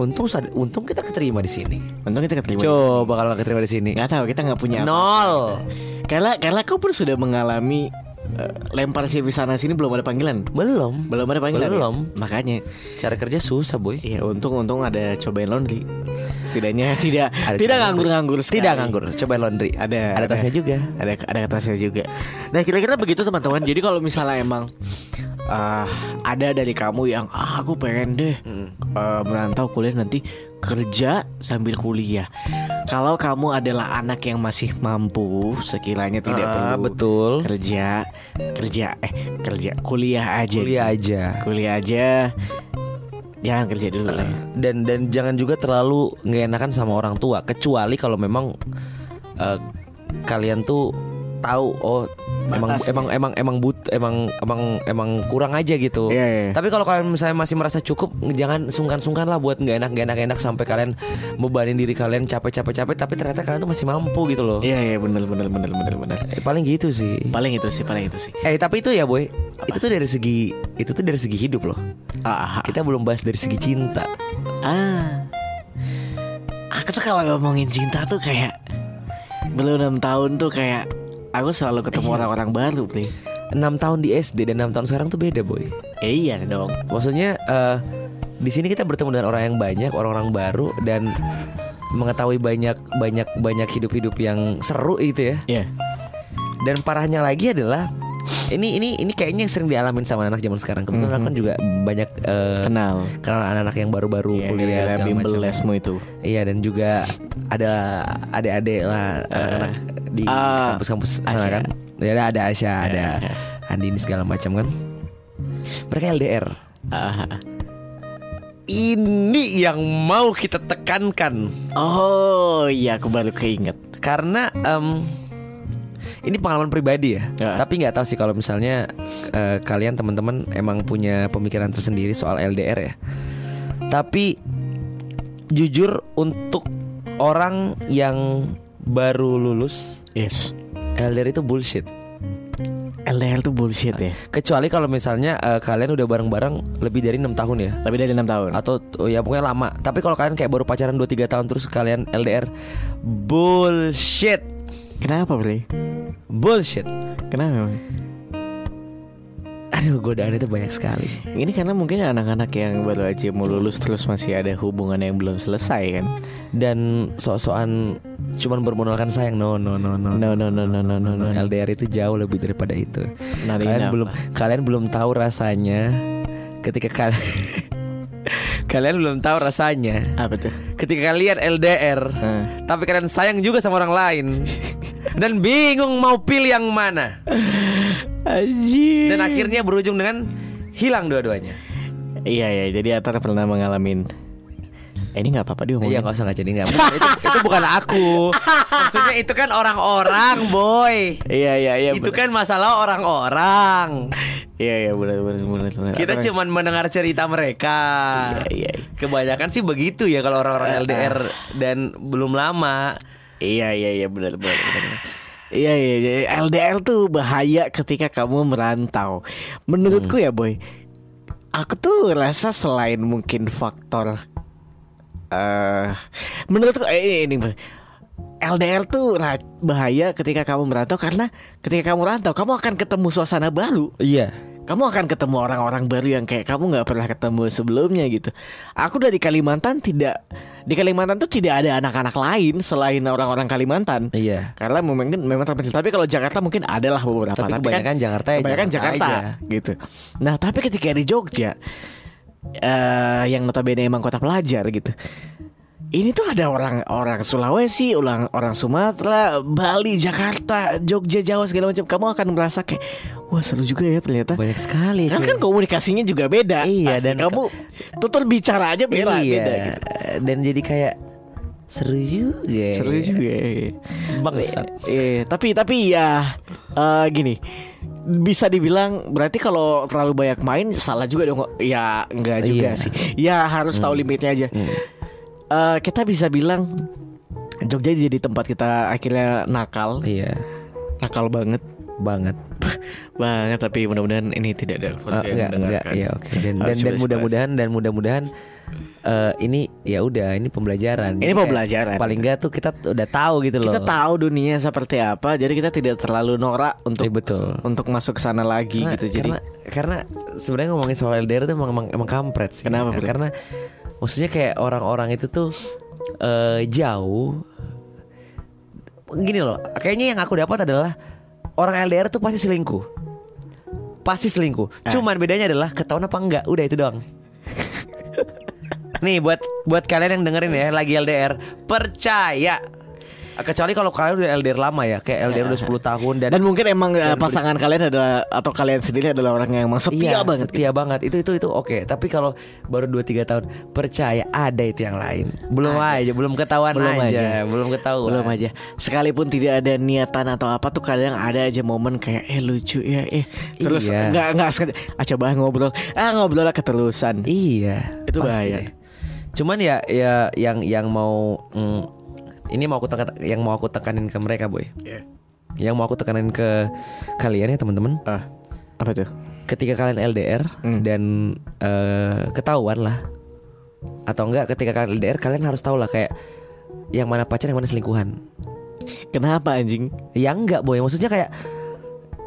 S2: Untung sad- untung kita keterima di sini.
S1: Untung kita keterima
S2: Coba kalau nggak keterima di sini.
S1: Gak tahu kita Iya, nggak punya apa.
S2: Nol.
S1: Karena karena kau pun sudah mengalami eh, Lempar CV sana sini belum ada panggilan
S2: Belum.
S1: Belum ada panggilan ya?
S2: Belum.
S1: Makanya
S2: Cara kerja susah, boy.
S1: Iya untung-untung ada cobain laundry Setidaknya tidak
S2: Ada
S1: Tidak
S2: cobain
S1: nganggur-nganggur
S2: Tidak
S1: sekali.
S2: nganggur. Coba laundry.
S1: ada
S2: ada tasnya juga.
S1: ada ada tasnya juga nah kira-kira begitu teman-teman jadi kalau misalnya emang "Ah,
S2: Hmm.
S1: eh, ada dari kamu yang ah, aku pengen deh eh, merantau kuliah nanti kerja sambil kuliah. Kalau kamu adalah anak yang masih mampu, sekiranya tidak
S2: Ah,
S1: perlu
S2: betul.
S1: kerja, kerja eh kerja kuliah aja.
S2: Kuliah aja.
S1: Kuliah aja. Jangan kerja dulu lah.
S2: Ah.
S1: ya.
S2: dan dan jangan juga terlalu nggak enakan sama orang tua kecuali kalau memang eh, kalian tuh tahu oh emang
S1: Batasnya.
S2: emang emang emang but emang emang emang kurang aja gitu.
S1: Iya, iya.
S2: Tapi kalau kalian misalnya masih merasa cukup jangan sungkan-sungkan lah buat nggak enak nggak enak nggak enak sampai kalian bebanin diri kalian capek-capek capek tapi ternyata kalian tuh masih mampu gitu loh.
S1: Iya iya benar benar benar benar benar.
S2: Eh, Paling gitu sih.
S1: Paling itu sih, paling itu sih.
S2: Eh tapi itu ya boy, itu tuh dari segi itu tuh dari segi hidup loh.
S1: Ah, ah,
S2: Kita belum bahas dari segi cinta.
S1: ah. Aku tuh kalau ngomongin cinta tuh kayak belum enam tahun tuh kayak aku selalu ketemu orang-orang baru, Pri.
S2: 6 tahun di SD dan 6 tahun sekarang tuh beda boy.
S1: Eh, iya dong.
S2: Maksudnya eh, di sini kita bertemu dengan orang yang banyak, orang-orang baru dan mengetahui banyak banyak banyak hidup-hidup yang seru gitu ya.
S1: Iya.
S2: Dan parahnya lagi adalah ini ini ini kayaknya yang sering dialamin sama anak zaman sekarang.
S1: Mhm.
S2: Kebetulan aku kan juga banyak eh,
S1: Kenal.
S2: kenal anak-anak yang baru-baru
S1: Iya,
S2: kuliah
S1: gara-gara
S2: segala
S1: bimbel
S2: macam.
S1: lesmu itu.
S2: Iya dan juga ada adik-adik lah anak-anak di
S1: ah,
S2: kampus-kampus
S1: Asya.
S2: sana kan. Ya ada ada Asya, ada
S1: iya.
S2: Andini segala macam kan. Mereka LDR.
S1: Ah, ah.
S2: ini yang mau kita tekankan
S1: Oh iya aku baru keinget
S2: karena em, ini pengalaman pribadi ya
S1: Ya.
S2: tapi nggak tahu sih kalau misalnya eh, kalian teman-teman emang punya pemikiran tersendiri soal LDR ya tapi jujur untuk orang yang baru lulus
S1: Yes
S2: LDR itu bullshit
S1: LDR tuh bullshit ya
S2: kecuali kalau misalnya eh, kalian udah bareng-bareng lebih dari enam tahun ya
S1: Tapi dari 6 tahun
S2: atau oh ya pokoknya lama. Tapi kalau kalian kayak baru pacaran 2 3 tahun terus kalian LDR bullshit.
S1: Kenapa Bri?
S2: Bullshit.
S1: Kenapa?
S2: Aduh, godaannya itu banyak sekali.
S1: Ini karena mungkin anak-anak yang baru aja mau lulus Terus masih ada hubungan yang belum selesai kan
S2: Dan sok-sokan cuman bermodalkan sayang. No, no, no, no.
S1: No no no no no no, no.
S2: LDR itu jauh lebih daripada itu.
S1: Nah, ini
S2: kalian
S1: apa?
S2: belum kalian belum tahu rasanya ketika kalian *laughs* kalian belum tahu rasanya
S1: Apa tuh?
S2: ketika kalian LDR
S1: Eh.
S2: tapi kalian sayang juga sama orang lain dan bingung mau pilih yang mana.
S1: Anjir
S2: dan akhirnya berujung dengan hilang dua-duanya.
S1: Iya iya jadi Atar pernah mengalami eh, Ini gak apa-apa dia
S2: Iya
S1: ngomongin
S2: nggak usah nggak jadi nggak. Bukan, *laughs* itu, itu bukan *laughs* aku. Maksudnya itu kan orang-orang, boy.
S1: Iya iya iya
S2: itu
S1: bener.
S2: kan masalah orang-orang.
S1: Iya iya benar benar benar benar.
S2: Kita
S1: Atar-
S2: cuman mendengar cerita mereka.
S1: Iya, iya.
S2: Kebanyakan sih begitu ya kalau orang-orang LDR dan belum lama.
S1: Iya iya iya benar benar. benar, benar. Iya iya iya. LDR tuh bahaya ketika kamu merantau. Menurutku
S2: Hmm.
S1: ya boy, aku tuh rasa selain mungkin faktor, eh menurutku eh, ini ini Boy. LDR tuh ra- bahaya ketika kamu merantau karena ketika kamu merantau kamu akan ketemu suasana baru
S2: Iya.
S1: kamu akan ketemu orang-orang baru yang kayak kamu nggak pernah ketemu sebelumnya gitu. Aku dari Kalimantan tidak di Kalimantan tuh tidak ada anak-anak lain selain orang-orang Kalimantan.
S2: Iya.
S1: Karena mungkin memang terpencil. Tapi kalau Jakarta mungkin adalah beberapa. kan
S2: Tapi kebanyakan Jakarta ya
S1: kebanyakan Jakarta,
S2: Jakarta
S1: gitu. Nah tapi ketika di Jogja, eh yang notabene emang kota pelajar gitu. Ini tuh ada orang orang Sulawesi, orang orang Sumatera, Bali, Jakarta, Jogja, Jawa segala macam. Kamu akan merasa kayak wah seru juga ya ternyata.
S2: Banyak sekali.
S1: Kan
S2: Iya, cuy.
S1: kan komunikasinya juga beda.
S2: Iya,
S1: Pasti
S2: dan
S1: kamu tutur bicara aja beda,
S2: iya.
S1: beda gitu.
S2: Dan jadi kayak seru juga. ya.
S1: Seru juga. iya.
S2: Bangsat.
S1: Iya, tapi tapi ya eh, gini. Bisa dibilang berarti kalau terlalu banyak main salah juga dong. Ya enggak juga
S2: Iya. Hmm.
S1: sih. Ya harus tahu limitnya aja. Eh, kita bisa bilang Jogja jadi tempat kita akhirnya nakal,
S2: Iya.
S1: nakal banget. *laughs*
S2: Banget.
S1: banget tapi mudah-mudahan ini tidak ada
S2: Eh, enggak, enggak, ya oke. Dan dan, dan mudah-mudahan dan mudah-mudahan eh, ini ya udah ini
S1: Ini
S2: pembelajaran. Jadi kayak
S1: pembelajaran.
S2: Paling enggak tuh kita t- udah tahu gitu loh.
S1: kita tahu dunia seperti apa jadi kita tidak terlalu norak untuk
S2: Iya, betul.
S1: untuk masuk ke sana lagi
S2: Karena,
S1: gitu jadi
S2: karena, karena sebenarnya ngomongin soal LDR tuh emang emang, emang kampret sih.
S1: Kenapa,
S2: Nah,
S1: Bro?
S2: Karena maksudnya kayak orang-orang itu tuh eh, jauh. Gini loh, kayaknya yang aku dapat adalah orang LDR tuh pasti selingkuh.
S1: Eh.
S2: Pasti selingkuh. Cuman bedanya adalah ketahuan apa enggak, udah itu doang. Nih buat buat kalian yang dengerin ya lagi LDR, percaya. Kecuali kalau kalian udah LDR lama ya, kayak
S1: Eh.
S2: LDR udah 10 tahun dan
S1: Dan mungkin emang eh, pasangan kalian adalah atau kalian sendiri adalah orang yang emang setia
S2: Iya,
S1: banget.
S2: Setia banget. Itu itu itu oke. Tapi kalau baru 2 3 tahun percaya ada itu yang lain. Belum aja, belum ketahuan
S1: Belum
S2: aja.
S1: aja.
S2: belum ketahuan.
S1: Belum aja. Sekalipun tidak ada niatan atau apa tuh kadang ada aja momen kayak eh lucu ya eh terus
S2: Iya.
S1: nggak nggak sengaja. ah coba ngobrol ah ngobrol lah keterusan.
S2: Iya,
S1: Itu
S2: pasti
S1: bahaya.
S2: deh. Cuman ya ya yang yang mau mm, ini mau aku tekan yang mau aku tekanin ke mereka, boy.
S1: Iya.
S2: Yang mau aku tekanin ke kalian ya, teman-teman.
S1: Ah, apa tuh?
S2: Ketika kalian LDR
S1: Hmm.
S2: dan eh, ketahuan lah atau enggak ketika kalian LDR kalian harus tahu lah kayak yang mana pacar yang mana selingkuhan.
S1: Kenapa anjing?
S2: Ya enggak, boy. Maksudnya kayak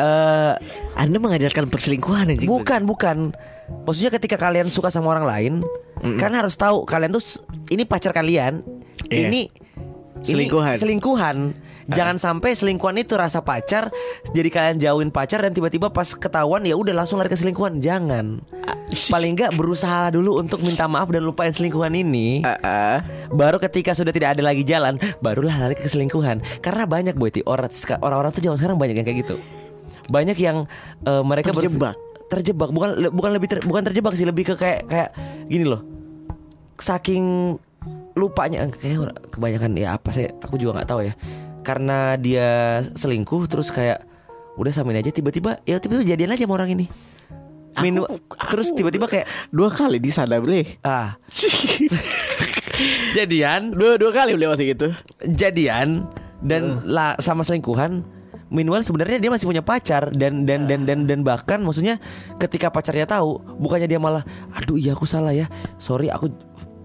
S2: eh
S1: Anda mengajarkan perselingkuhan anjing.
S2: Bukan, bukan. Maksudnya ketika kalian suka sama orang lain, kan harus tahu kalian tuh s- ini pacar kalian.
S1: Iya.
S2: Ini ini
S1: Selingkuhan.
S2: selingkuhan. Jangan sampai selingkuhan itu rasa pacar jadi kalian jauhin pacar dan tiba-tiba pas ketahuan ya udah langsung lari ke selingkuhan. Jangan. Paling enggak berusaha dulu untuk minta maaf dan lupain selingkuhan ini.
S1: Ah, ah.
S2: Baru ketika sudah tidak ada lagi jalan, barulah lari ke selingkuhan. Karena banyak boy, Ti, orang orang-orang tuh zaman sekarang banyak yang kayak gitu. Banyak yang eh, mereka berfi-
S1: Terjebak.
S2: terjebak bukan le- bukan lebih ter- bukan terjebak sih lebih ke kayak kayak gini loh. Saking lupanya kayak orang- kebanyakan ya apa saya aku juga nggak tahu ya. Karena dia selingkuh terus kayak udah samain aja tiba-tiba ya tiba-tiba jadian aja sama orang ini. Minu, terus tiba-tiba kayak
S1: Dua kali di sana beli.
S2: ah *laughs* jadian
S1: dua dua kali beli waktu gitu.
S2: jadian dan la- sama selingkuhan minimal sebenarnya dia masih punya pacar dan dan dan dan dan bahkan maksudnya ketika pacarnya tahu bukannya dia malah aduh iya aku salah ya sorry aku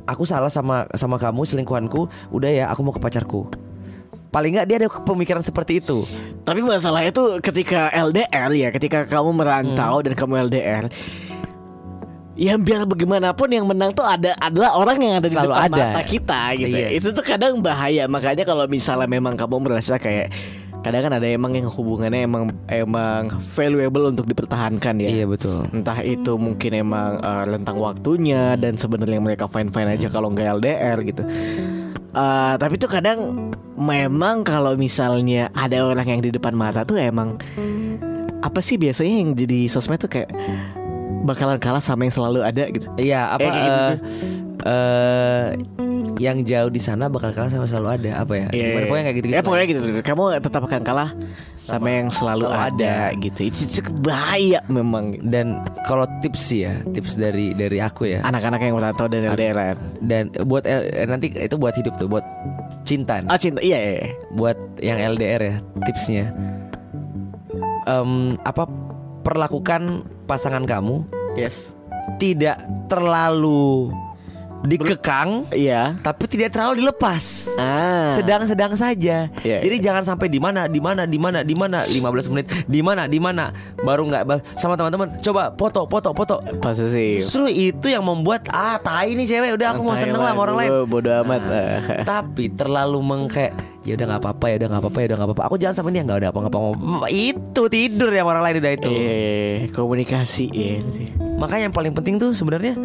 S2: aku salah sama sama kamu selingkuhanku udah ya aku mau ke pacarku paling nggak dia ada pemikiran seperti itu
S1: Tapi masalahnya tuh ketika LDR ya, ketika kamu merantau
S2: Hmm.
S1: dan kamu LDR, ya biar bagaimanapun yang menang tuh ada adalah orang yang ada
S2: Selalu
S1: di depan
S2: ada. Iya.
S1: mata kita gitu. ya.
S2: Yes.
S1: Itu tuh kadang bahaya. Makanya kalau misalnya memang kamu merasa kayak kadang kan ada emang yang hubungannya emang emang valuable untuk dipertahankan
S2: Iya.
S1: ya.
S2: betul
S1: Entah itu mungkin emang eh, rentang waktunya dan sebenarnya mereka fine fine aja kalau nggak LDR gitu. Eh, tapi tuh kadang memang kalau misalnya ada orang yang di depan mata tuh emang apa sih biasanya yang jadi sosmed tuh kayak bakalan kalah sama yang selalu ada gitu.
S2: iya apa
S1: Kayak gitu
S2: eh,
S1: tuh.
S2: eh, yang jauh di sana bakal kalah sama selalu ada apa ya
S1: Iya,
S2: Gimana,
S1: iya.
S2: pokoknya kayak gitu, -gitu
S1: Ya, pokoknya gitu. Kamu tetap akan kalah sama, yang selalu,
S2: selalu
S1: ada,
S2: ada.
S1: gitu. Itu itu bahaya memang. gitu.
S2: dan kalau tips sih ya tips dari dari aku ya
S1: Anak-anak yang merantau dan LDR.
S2: dan buat L- eh, nanti itu buat hidup tuh buat cinta nih.
S1: Ah cinta, iya iya. iya.
S2: buat yang LDR ya tipsnya Em, apa perlakukan pasangan kamu
S1: Yes.
S2: tidak terlalu dikekang
S1: Iya.
S2: tapi tidak terlalu dilepas
S1: Ah.
S2: sedang-sedang saja.
S1: Iya,
S2: Jadi jangan sampai di mana, di mana, di mana, di mana 15 menit, di mana, di mana baru nggak bal- sama teman-teman. Coba foto, foto, foto.
S1: Iya. posesif.
S2: Justru itu yang membuat ah tai nih cewek udah aku
S1: Ah,
S2: mau
S1: Tai
S2: seneng lah sama
S1: lah,
S2: orang lain. Nah,
S1: bodo- bodo amat. *laughs* Iya,
S2: tapi terlalu mengke ya udah nggak apa-apa ya udah nggak apa-apa ya udah nggak apa-apa. Aku jangan sama dia nggak ada apa-apa. Mm, Itu tidur ya sama orang lain udah itu.
S1: Eh, komunikasi ya.
S2: Makanya yang paling penting tuh sebenarnya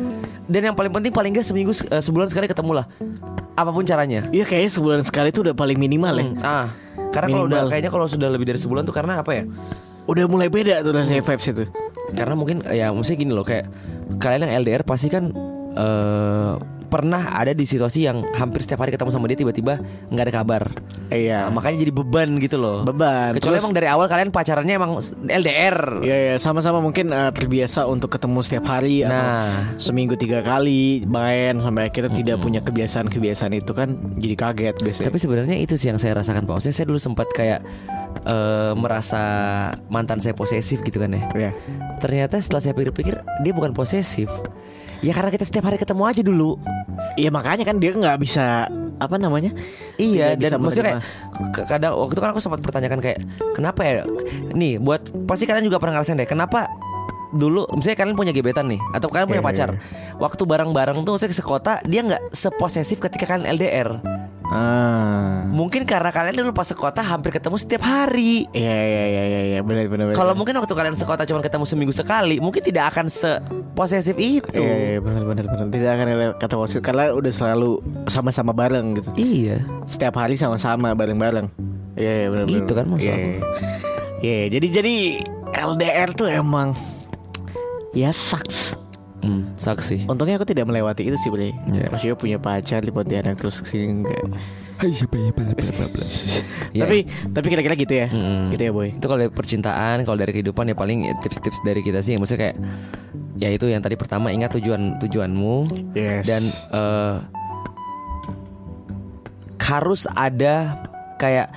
S2: dan yang paling penting paling nggak seminggu se- eh, sebulan sekali ketemu lah. Apapun caranya.
S1: Iya kayaknya sebulan sekali tuh udah paling minimal ya.
S2: Hmm, Ah, karena kalau udah
S1: Minimal.
S2: kayaknya kalau sudah lebih dari sebulan tuh karena apa ya?
S1: Udah mulai beda tuh rasanya
S2: Hmm.
S1: vibes itu.
S2: karena mungkin ya maksudnya gini loh kayak kalian yang LDR pasti kan eh, pernah ada di situasi yang hampir setiap hari ketemu sama dia tiba-tiba nggak ada kabar Nah,
S1: Iya.
S2: makanya jadi beban gitu loh
S1: Beban.
S2: kecuali
S1: Terus-
S2: emang dari awal kalian pacarannya emang LDR
S1: Iya ya, sama-sama mungkin eh, terbiasa untuk ketemu setiap hari atau
S2: Nah.
S1: seminggu tiga kali main sampai akhirnya tidak punya kebiasaan-kebiasaan itu kan jadi kaget biasanya.
S2: Hmm. tapi sebenarnya itu sih yang saya rasakan pak maksudnya saya dulu sempat kayak eh, merasa mantan saya posesif gitu kan ya
S1: Iya.
S2: ternyata setelah saya pikir-pikir dia bukan posesif ya karena kita setiap hari ketemu aja dulu
S1: Iya makanya kan dia nggak bisa apa namanya?
S2: Iya
S1: Tidak bisa
S2: dan maksudnya kayak
S1: menerima.
S2: k- kadang waktu itu kan aku sempat pertanyakan kayak kenapa ya nih buat pasti kalian juga pernah ngerasain deh kenapa dulu misalnya kalian punya gebetan nih atau kalian punya
S1: Iya,
S2: pacar waktu bareng-bareng tuh saya sekota dia nggak seposesif ketika kalian LDR
S1: Ah.
S2: Mungkin karena kalian dulu pas sekota hampir ketemu setiap hari.
S1: Iya iya iya iya iya benar benar. benar.
S2: Kalau mungkin waktu kalian sekota cuma ketemu seminggu sekali, mungkin tidak akan seposesif itu.
S1: Iya iya benar benar benar. Tidak akan ada kata wasit karena udah selalu sama-sama bareng gitu.
S2: Iya.
S1: Setiap hari sama-sama bareng-bareng. Iya iya benar benar.
S2: Gitu kan maksud
S1: Iya,
S2: aku.
S1: iya. Iya iya. jadi jadi LDR tuh emang ya sucks.
S2: Hmm, saksi.
S1: Untungnya aku tidak melewati itu sih, Bre.
S2: Iya.
S1: Maksudnya punya pacar di Pontianak terus kesini enggak. ya?
S2: Iya.
S1: Tapi tapi kira-kira gitu ya.
S2: Mm-mm.
S1: Gitu ya, Boy.
S2: itu kalau dari percintaan kalau dari kehidupan ya paling ya tips-tips dari kita sih maksudnya kayak ya itu yang tadi pertama ingat tujuan tujuanmu
S1: Yes.
S2: dan eh, harus ada kayak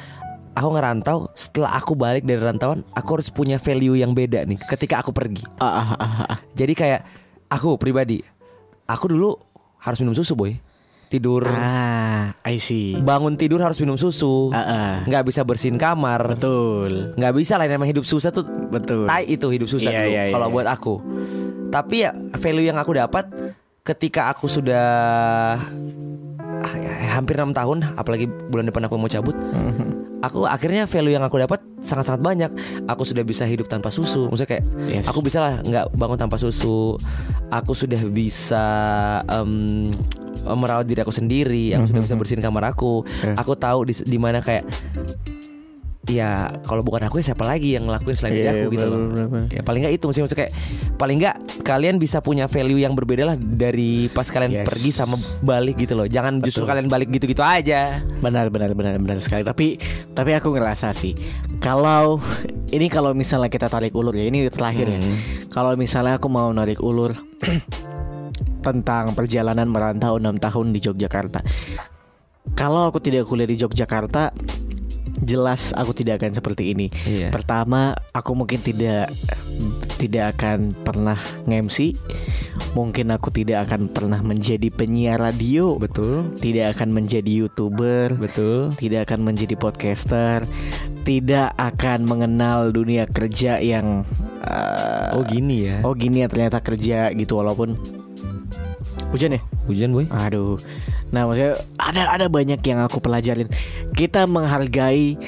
S2: aku ngerantau setelah aku balik dari rantauan aku harus punya value yang beda nih ketika aku pergi
S1: ah, ah, ah, ah.
S2: jadi kayak aku pribadi aku dulu harus minum susu boy tidur
S1: Ah, I see.
S2: bangun tidur harus minum susu
S1: Ah, ah.
S2: nggak bisa bersihin kamar
S1: Betul.
S2: nggak bisa lah namanya hidup susah tuh
S1: Betul.
S2: tai itu hidup susah
S1: Iya,
S2: dulu
S1: iya, iya,
S2: kalau
S1: iya.
S2: buat aku tapi ya value yang aku dapat ketika aku sudah ah, ya, hampir enam tahun apalagi bulan depan aku mau
S1: *laughs*
S2: cabut aku akhirnya value yang aku dapat sangat-sangat banyak aku sudah bisa hidup tanpa susu maksudnya kayak
S1: Yes.
S2: aku bisa lah nggak bangun tanpa susu aku sudah bisa em, merawat diri aku sendiri aku
S1: *laughs*
S2: sudah bisa bersihin kamar aku
S1: Yes.
S2: aku tahu di, di mana kayak ya kalau bukan aku ya siapa lagi yang ngelakuin selain
S1: Iya,
S2: dari aku gitu loh.
S1: bener, bener.
S2: Ya paling nggak itu maksudnya, maksudnya kayak paling nggak kalian bisa punya value yang berbeda lah dari pas kalian
S1: Yes.
S2: pergi sama balik gitu loh. Jangan justru
S1: Betul.
S2: kalian balik gitu-gitu aja.
S1: Benar, benar, benar, benar sekali. Tapi, tapi aku ngerasa sih, kalau ini kalau misalnya kita tarik ulur ya, ini terakhir ya.
S2: Hmm.
S1: Kalau misalnya aku mau narik ulur *clears throat* tentang perjalanan merantau 6 tahun di Yogyakarta. Kalau aku tidak kuliah di Yogyakarta, jelas aku tidak akan seperti ini.
S2: Iya.
S1: Pertama, aku mungkin tidak tidak akan pernah nge-MC. Mungkin aku tidak akan pernah menjadi penyiar radio.
S2: Betul.
S1: Tidak akan menjadi YouTuber
S2: Betul.
S1: tidak akan menjadi podcaster, tidak akan mengenal dunia kerja yang eh,
S2: Oh gini ya.
S1: oh gini ya ternyata kerja gitu walaupun hujan ya.
S2: Hujan boy.
S1: Aduh. Nah, maksudnya ada ada banyak yang aku pelajarin. Kita menghargai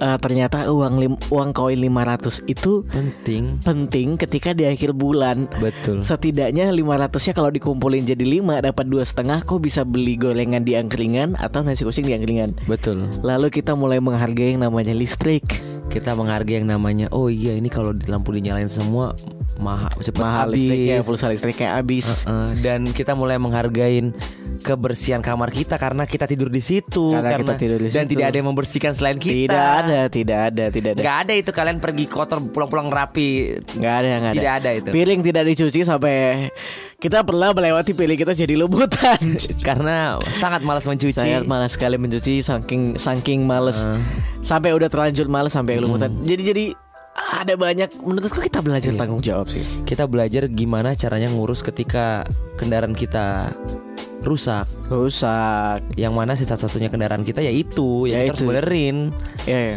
S1: eh, ternyata uang lim- uang koin 500 itu
S2: Penting.
S1: penting ketika di akhir bulan.
S2: Betul.
S1: Setidaknya 500-nya kalau dikumpulin jadi 5 dapat dua setengah kok bisa beli gorengan di angkringan atau nasi kucing di angkringan.
S2: Betul.
S1: Lalu kita mulai menghargai yang namanya listrik.
S2: Kita menghargai yang namanya. Oh iya ini kalau lampu dinyalain semua mahal cepat
S1: Mahal
S2: habis.
S1: listriknya, pulsa listriknya habis.
S2: Eh, dan kita mulai menghargain kebersihan kamar kita karena kita tidur di situ
S1: Karena kita tidur di
S2: dan
S1: situ.
S2: tidak ada yang membersihkan selain kita
S1: Tidak ada, tidak ada, tidak ada.
S2: nggak ada itu kalian pergi kotor pulang-pulang rapi
S1: Nggak ada, nggak ada.
S2: Tidak ada itu.
S1: Piring tidak dicuci sampai kita pernah melewati piring kita jadi
S2: *laughs*
S1: lubutan.
S2: karena sangat malas mencuci
S1: Saya malas sekali mencuci saking saking males. Sampai udah terlanjur males sampai
S2: Hmm.
S1: lubutan. Jadi jadi ada banyak menurutku kita belajar
S2: Iya.
S1: tanggung jawab sih.
S2: kita belajar gimana caranya ngurus ketika kendaraan kita rusak
S1: Rusak.
S2: yang mana satu-satunya kendaraan kita yaitu
S1: Ya
S2: yang kita harus
S1: itu.
S2: benerin
S1: Ya, ya.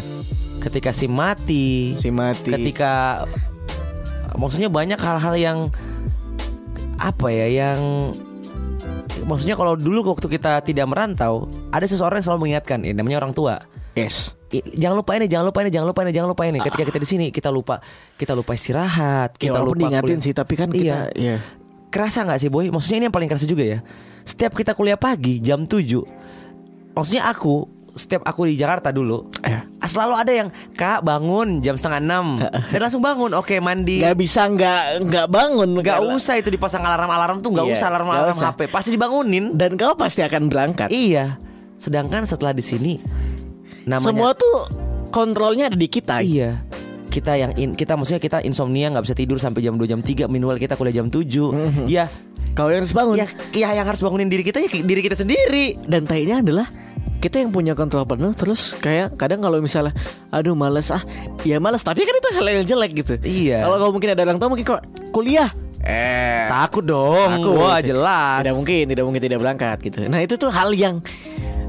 S2: ketika SIM mati
S1: Si mati.
S2: ketika maksudnya banyak hal-hal yang apa ya yang maksudnya kalau dulu waktu kita tidak merantau ada seseorang yang selalu mengingatkan ya namanya orang tua
S1: Yes.
S2: I- jangan lupa ini jangan lupa ini jangan lupa ini jangan lupa ini ketika kita di sini kita lupa kita lupa
S1: Ah.
S2: istirahat
S1: Ya,
S2: kita
S1: walaupun
S2: lupa
S1: diingatin
S2: kuliah. Iya.
S1: sih, tapi kan kita ya.
S2: kerasa nggak sih boy maksudnya ini yang paling kerasa juga ya setiap kita kuliah pagi jam 7 maksudnya aku setiap aku di Jakarta dulu ah,
S1: Eh.
S2: selalu ada yang kak bangun jam setengah enam dan langsung bangun oke mandi
S1: nggak bisa nggak nggak bangun
S2: Gak
S1: Karena-
S2: usah itu dipasang alarm-alarm tuh gak
S1: Iya,
S2: usah
S1: nggak
S2: alarm-alarm
S1: usah.
S2: HP Pasti dibangunin
S1: dan kau pasti akan berangkat
S2: Iya Sedangkan setelah di sini Namanya
S1: semua tuh kontrolnya ada di kita
S2: Iya kita yang in, kita maksudnya kita insomnia nggak bisa tidur sampai jam 2 jam 3 minimal kita kuliah jam
S1: Mhm.
S2: 7 ya,
S1: kau yang harus bangun
S2: ya ya yang harus bangunin diri kita ya ki- diri kita sendiri
S1: dan tainya adalah kita yang punya kontrol penuh terus kayak kadang kalau misalnya aduh males ah ya males tapi kan itu hal yang jelek gitu
S2: Iya.
S1: kalau kau mungkin ada orang tua mungkin kok kuliah eh
S2: takut dong
S1: Takut.
S2: Oh, wah jelas
S1: Tidak mungkin, tidak mungkin tidak berangkat gitu. Nah itu tuh hal yang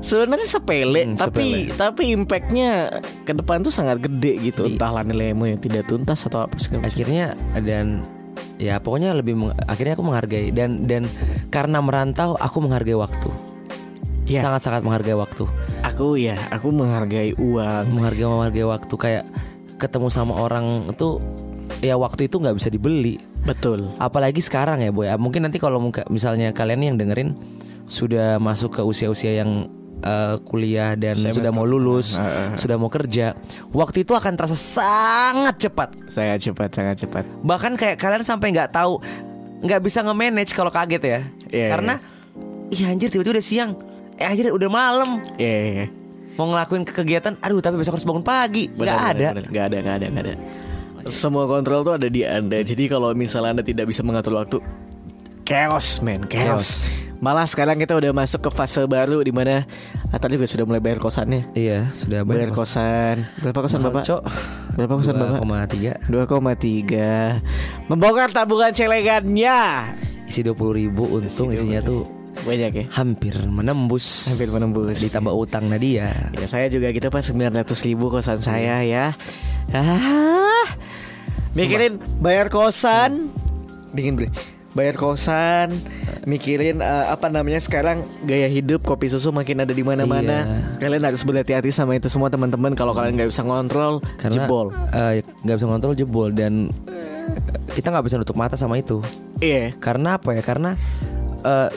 S1: sebenarnya sepele,
S2: Hmm,
S1: tapi tapi impactnya ke depan tuh sangat gede gitu.
S2: Iya.
S1: Entahlah nilaimu yang tidak tuntas atau apa segala macam.
S2: akhirnya dan ya pokoknya lebih meng- akhirnya aku menghargai dan dan karena merantau aku menghargai waktu
S1: Iya.
S2: sangat sangat menghargai waktu
S1: aku ya aku menghargai uang
S2: menghargai menghargai waktu kayak ketemu sama orang itu ya waktu itu nggak bisa dibeli
S1: betul
S2: apalagi sekarang ya boy mungkin nanti kalau muka- misalnya kalian nih yang dengerin sudah masuk ke usia-usia yang eh, kuliah dan
S1: Saya
S2: sudah mau lulus
S1: Heeh.
S2: sudah mau kerja waktu itu akan terasa sangat cepat
S1: sangat cepat sangat cepat
S2: bahkan kayak kalian sampai nggak tahu nggak bisa nge-manage kalau kaget ya
S1: Iya,
S2: karena ih anjir tiba-tiba udah siang eh anjir udah malam
S1: ya ya, ya.
S2: mau ngelakuin ke- kegiatan aduh tapi besok harus bangun pagi
S1: Benar,
S2: nggak
S1: benar,
S2: ada
S1: benar. nggak ada nggak ada nggak ada semua kontrol tuh ada di anda jadi kalau misalnya anda tidak bisa mengatur waktu chaos man chaos, malah sekarang kita udah masuk ke fase baru di mana Atta juga sudah mulai bayar kosannya
S2: iya sudah
S1: bayar
S2: banyak
S1: kosan berapa kosan
S2: Mahal,
S1: bapak
S2: Cok.
S1: berapa kosan bapak
S2: 2,3
S1: 2,3 Membongkar tabungan celegannya
S2: isi 20.000 untung isinya tuh
S1: Banyak ya
S2: hampir menembus
S1: Hampir menembus.
S2: ditambah utang Nadia
S1: Ya saya juga gitu pak 900 ribu kosan saya ya ah, Mikirin bayar kosan Dingin beli Bayar kosan Mikirin eh, apa namanya sekarang Gaya hidup kopi susu makin ada di mana mana Kalian harus berhati-hati sama itu semua teman-teman Kalau kalian nggak bisa ngontrol
S2: karena
S1: Jebol
S2: eh, nggak bisa ngontrol jebol dan eh, kita nggak bisa nutup mata sama itu
S1: Iya
S2: karena apa ya karena eh,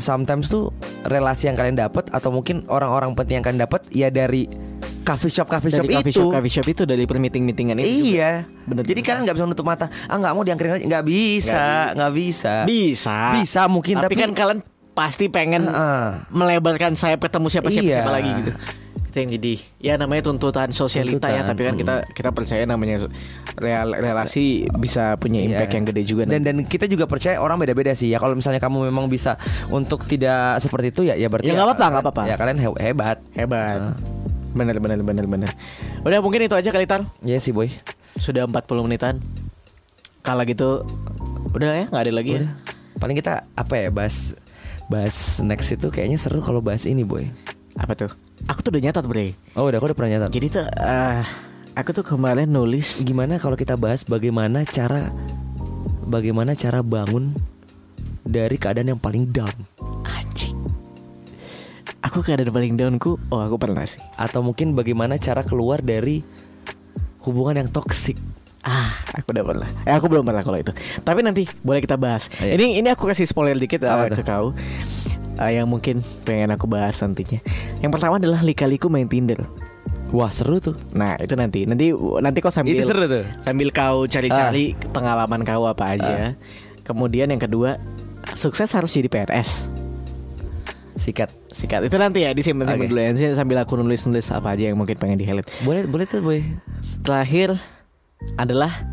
S2: sometimes tuh relasi yang kalian dapat atau mungkin orang-orang penting yang kalian dapat ya dari coffee shop coffee shop
S1: Dari coffee
S2: itu
S1: shop, coffee shop itu dari permeeting-meetingan itu juga.
S2: iya
S1: Bener
S2: jadi
S1: juga.
S2: kalian nggak bisa nutup mata ah nggak mau diangkring aja nggak bisa nggak bisa
S1: Bisa
S2: Bisa mungkin,
S1: Tapi,
S2: tapi- ah.
S1: kan kalian pasti pengen
S2: Heeh.
S1: melebarkan sayap ketemu siapa-siapa
S2: Iya.
S1: siapa lagi gitu itu yang jadi ya namanya tuntutan sosialita ya
S2: Tuntutan,
S1: tapi kan kita kita percaya namanya so- real- relasi bisa punya impact
S2: Iya.
S1: yang gede juga
S2: dan dan kita juga percaya orang beda-beda sih ya kalau misalnya kamu memang bisa untuk tidak seperti itu ya ya berarti
S1: Ya, nggak apa-apa, nggak apa-apa.
S2: ya kalian he- hebat
S1: hebat bener bener bener bener udah mungkin itu aja kali Tar
S2: ya sih boy
S1: sudah 40 menitan kalau gitu udah ya nggak ada lagi ya
S2: Udah. paling kita apa ya bahas bahas next itu kayaknya seru kalau bahas ini boy
S1: apa tuh aku tuh udah nyatat bre
S2: oh udah aku udah pernah nyatat
S1: jadi tuh eh, aku tuh kemarin nulis
S2: gimana kalau kita bahas bagaimana cara bagaimana cara bangun dari keadaan yang paling down
S1: anjing aku keadaan paling downku oh aku pernah sih
S2: atau mungkin bagaimana cara keluar dari hubungan yang toksik
S1: Ah, aku udah pernah. Eh, aku belum pernah kalau itu. Tapi nanti boleh kita bahas.
S2: Iya.
S1: Ini ini aku kasih spoiler dikit eh,
S2: Apa tuh?
S1: ke kau. Eh, yang mungkin pengen aku bahas nantinya. Yang pertama adalah lika-liku main Tinder.
S2: wah seru tuh
S1: Nah, itu nanti. Nanti nanti kau sambil
S2: itu seru Ah. tuh
S1: sambil kau cari-cari pengalaman kau apa
S2: Ah.
S1: aja. Kemudian yang kedua, sukses harus jadi PNS.
S2: sikat
S1: Sikat. Itu nanti ya disimpan simpan
S2: Oke.
S1: dulu ya. Nanti Sambil aku nulis-nulis apa aja yang mungkin pengen di-highlight.
S2: boleh boleh tuh boy
S1: Terakhir adalah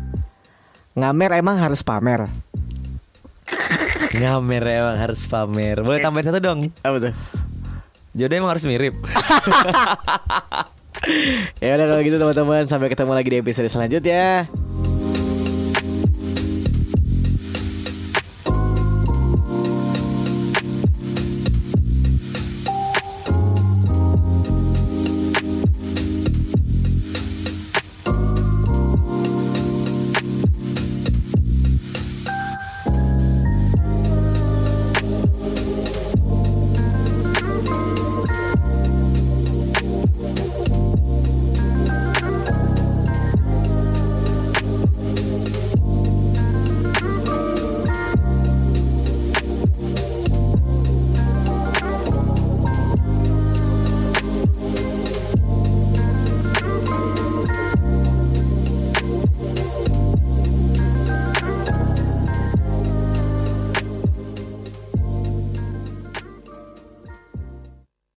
S1: ngamer emang harus pamer.
S2: Ngamer emang harus pamer Boleh tambahin satu dong
S1: Apa tuh?
S2: Jodoh emang harus mirip
S1: ya udah kalau gitu teman-teman sampai ketemu lagi di episode selanjutnya.